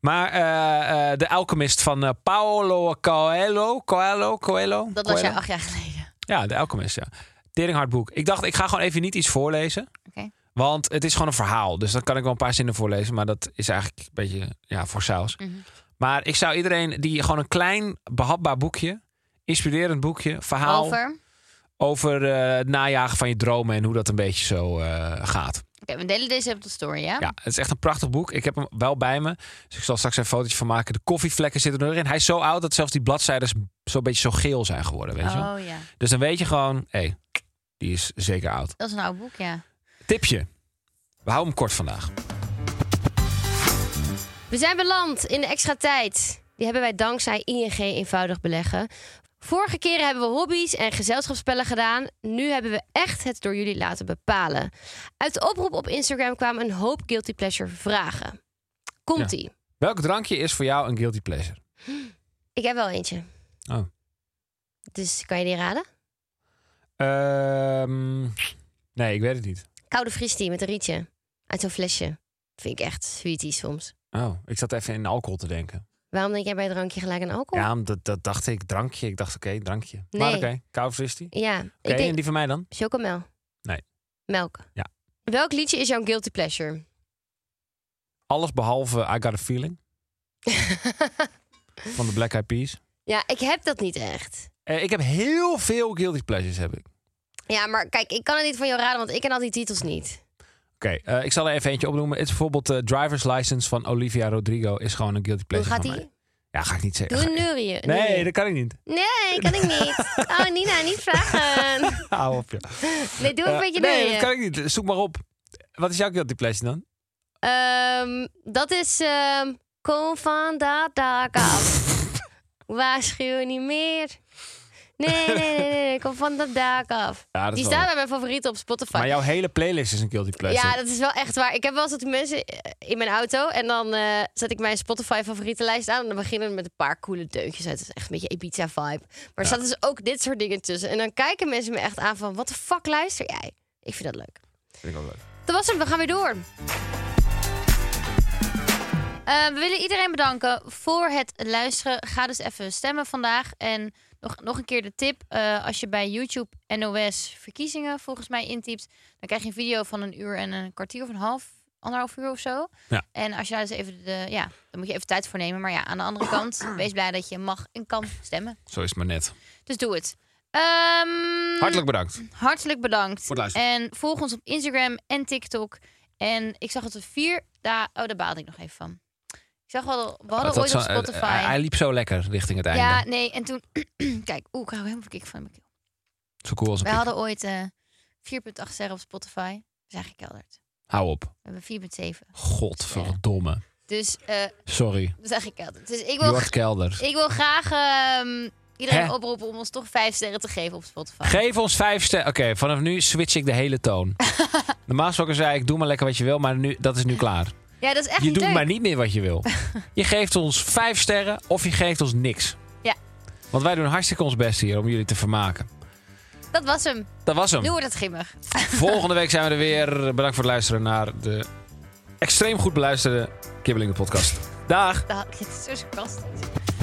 [SPEAKER 2] Maar eh, eh, De Alchemist van eh, Paolo Coelho. Coelho, Coelho.
[SPEAKER 1] Dat was
[SPEAKER 2] Coelho?
[SPEAKER 1] jij acht jaar geleden.
[SPEAKER 2] Ja, De Alchemist, ja. Teringhard boek. Ik dacht, ik ga gewoon even niet iets voorlezen.
[SPEAKER 1] Oké.
[SPEAKER 2] Want het is gewoon een verhaal. Dus dan kan ik wel een paar zinnen voorlezen. Maar dat is eigenlijk een beetje ja, voor saus.
[SPEAKER 1] Mhm.
[SPEAKER 2] Maar ik zou iedereen die gewoon een klein, behapbaar boekje... inspirerend boekje, verhaal
[SPEAKER 1] Over.
[SPEAKER 2] over eh, het najagen van je dromen en hoe dat een beetje zo eh, gaat.
[SPEAKER 1] Oké, we delen deze op de story,
[SPEAKER 6] Ah.
[SPEAKER 1] ja?
[SPEAKER 2] Ja, het is echt een prachtig boek. Ik heb hem wel bij me. Dus ik zal straks een fotootje van maken. De koffievlekken zitten erin. Hij is zo oud dat zelfs die bladzijden zo'n beetje zo geel zijn geworden. Weet je wel?
[SPEAKER 1] oh ja,
[SPEAKER 2] Dus dan weet je gewoon, hé, hey, die is zeker oud.
[SPEAKER 1] dat is een oud boek, ja.
[SPEAKER 2] Tipje. We houden hem kort vandaag.
[SPEAKER 6] We zijn beland in de extra tijd. Die hebben wij dankzij ING eenvoudig beleggen. Vorige keren hebben we hobby's en gezelschapsspellen gedaan. Nu hebben we echt het door jullie laten bepalen. Uit de oproep op Instagram kwamen een hoop guilty pleasure vragen. Komt-ie.
[SPEAKER 2] Welk drankje is voor jou een guilty pleasure?
[SPEAKER 6] Ik heb wel eentje.
[SPEAKER 2] Oh.
[SPEAKER 6] Dus kan je die raden?
[SPEAKER 2] Ehm, nee, ik weet het niet.
[SPEAKER 6] Koude fristie met een rietje. Uit zo'n flesje. Vind ik echt sweetie soms.
[SPEAKER 2] Oh, ik zat even in alcohol te denken.
[SPEAKER 6] Waarom denk jij bij drankje gelijk aan alcohol?
[SPEAKER 2] Ja, dat, dat dacht ik. Drankje. Ik dacht, oké, drankje. Maar
[SPEAKER 6] Nee.
[SPEAKER 2] oké, koud fris die. Oké,
[SPEAKER 6] Ja, ik denk
[SPEAKER 2] en die van mij dan?
[SPEAKER 6] Chocomel?
[SPEAKER 2] Nee.
[SPEAKER 6] Melk?
[SPEAKER 2] Ja.
[SPEAKER 6] Welk liedje is jouw guilty pleasure?
[SPEAKER 2] Alles behalve I Got A Feeling van de Black Eyed Peas.
[SPEAKER 6] ja, ik heb dat niet echt.
[SPEAKER 2] Eh, ik heb heel veel guilty pleasures, heb ik.
[SPEAKER 6] Ja, maar kijk, ik kan het niet van jou raden, want ik ken al die titels niet.
[SPEAKER 2] Oké, eh, ik zal er even eentje opnoemen. Het is bijvoorbeeld eh Driver's License van Olivia Rodrigo is gewoon een guilty
[SPEAKER 6] Hoe
[SPEAKER 2] pleasure
[SPEAKER 6] gaat
[SPEAKER 2] van
[SPEAKER 6] die?
[SPEAKER 2] mij. Ja, ga ik niet zeggen.
[SPEAKER 6] Doe
[SPEAKER 2] Ga
[SPEAKER 6] een
[SPEAKER 2] ik-
[SPEAKER 6] neurieën. een
[SPEAKER 2] Nee,
[SPEAKER 6] neurieën.
[SPEAKER 2] dat kan ik niet.
[SPEAKER 6] Nee, kan ik niet. Oh, Nina, niet vragen.
[SPEAKER 2] Hou op, ja.
[SPEAKER 6] Nee, doe een
[SPEAKER 2] Eh,
[SPEAKER 6] beetje
[SPEAKER 2] nee,
[SPEAKER 6] neurieën.
[SPEAKER 2] dat kan ik niet. Zoek maar op. Wat is jouw guilty pleasure dan?
[SPEAKER 6] Ehm, dat is... ehm, kom van dat dak af. Waarschuw niet meer. Nee, nee, nee, nee, nee, kom van dat dak af.
[SPEAKER 2] Ja, dat
[SPEAKER 6] Die
[SPEAKER 2] is
[SPEAKER 6] staat
[SPEAKER 2] wel-
[SPEAKER 6] bij mijn favorieten op Spotify.
[SPEAKER 2] Maar jouw hele playlist is een guilty pleasure.
[SPEAKER 6] Ja, dat is wel echt waar. Ik heb wel eens dat die mensen eh, in mijn auto en dan eh, zet ik mijn Spotify favorietenlijst aan en dan beginnen we met een paar coole deuntjes uit. Het is echt een beetje Ibiza vibe. Maar er staat dus ook dit soort dingen tussen. En dan kijken mensen me echt aan van, wat de fuck luister jij? Ik vind dat leuk.
[SPEAKER 2] Vind ik ook leuk.
[SPEAKER 6] Dat was hem, we gaan weer door.
[SPEAKER 1] Eh, we willen iedereen bedanken voor het luisteren. Ga dus even stemmen vandaag. En nog, nog een keer de tip. eh, als je bij YouTube NOS verkiezingen volgens mij intypt... dan krijg je een video van een uur en een kwartier of een half... anderhalf uur of zo.
[SPEAKER 2] Ja.
[SPEAKER 1] En als je daar dus even de... Ja, dan moet je even tijd voor nemen. Maar ja, aan de andere kant... wees blij dat je mag en kan stemmen.
[SPEAKER 2] Zo is het maar net.
[SPEAKER 1] Dus doe het. Ehm,
[SPEAKER 2] Hartelijk bedankt.
[SPEAKER 1] Hartelijk bedankt.
[SPEAKER 2] het luisteren.
[SPEAKER 1] En volg ons op Instagram en TikTok. En ik zag dat we vier... daar oh, daar baalde ik nog even van. Ik zag wel, we hadden
[SPEAKER 2] Dat
[SPEAKER 1] ooit op
[SPEAKER 2] zo- eh,
[SPEAKER 1] Spotify...
[SPEAKER 2] Hij, hij liep zo lekker richting het
[SPEAKER 1] ja,
[SPEAKER 2] einde.
[SPEAKER 1] nee, en toen... Kijk, oeh, ik hou helemaal kick van mijn keel.
[SPEAKER 2] Zo cool als een
[SPEAKER 1] Wij
[SPEAKER 2] pik.
[SPEAKER 1] hadden ooit eh 4,8 sterren op Spotify. We zijn gekelderd.
[SPEAKER 2] Hou op.
[SPEAKER 1] We hebben 4,7.
[SPEAKER 2] Godverdomme.
[SPEAKER 1] Dus eh
[SPEAKER 2] Sorry.
[SPEAKER 1] we zijn gekelderd. Dus ik wil,
[SPEAKER 2] Jort Kelder.
[SPEAKER 1] ik wil graag ehm, iedereen
[SPEAKER 2] Hè?
[SPEAKER 1] oproepen om ons toch vijf sterren te geven op Spotify.
[SPEAKER 2] Geef ons vijf sterren. Oké, vanaf nu switch ik de hele toon. Normaal gesproken zei ik, doe maar lekker wat je wil, maar nu, dat is nu klaar.
[SPEAKER 1] ja, dat is echt
[SPEAKER 2] Je
[SPEAKER 1] niet
[SPEAKER 2] doet
[SPEAKER 1] leuk.
[SPEAKER 2] maar niet meer wat je wil. Je geeft ons vijf sterren of je geeft ons niks.
[SPEAKER 1] Ja.
[SPEAKER 2] Want wij doen hartstikke ons best hier om jullie te vermaken.
[SPEAKER 1] Dat was hem.
[SPEAKER 2] Dat was hem.
[SPEAKER 1] Nu wordt het grimmig.
[SPEAKER 2] Volgende week zijn we er weer. Bedankt voor het luisteren naar de extreem goed beluisterde Kibbeling de podcast. Dag!
[SPEAKER 1] Dat, dit is zo sarcastisch.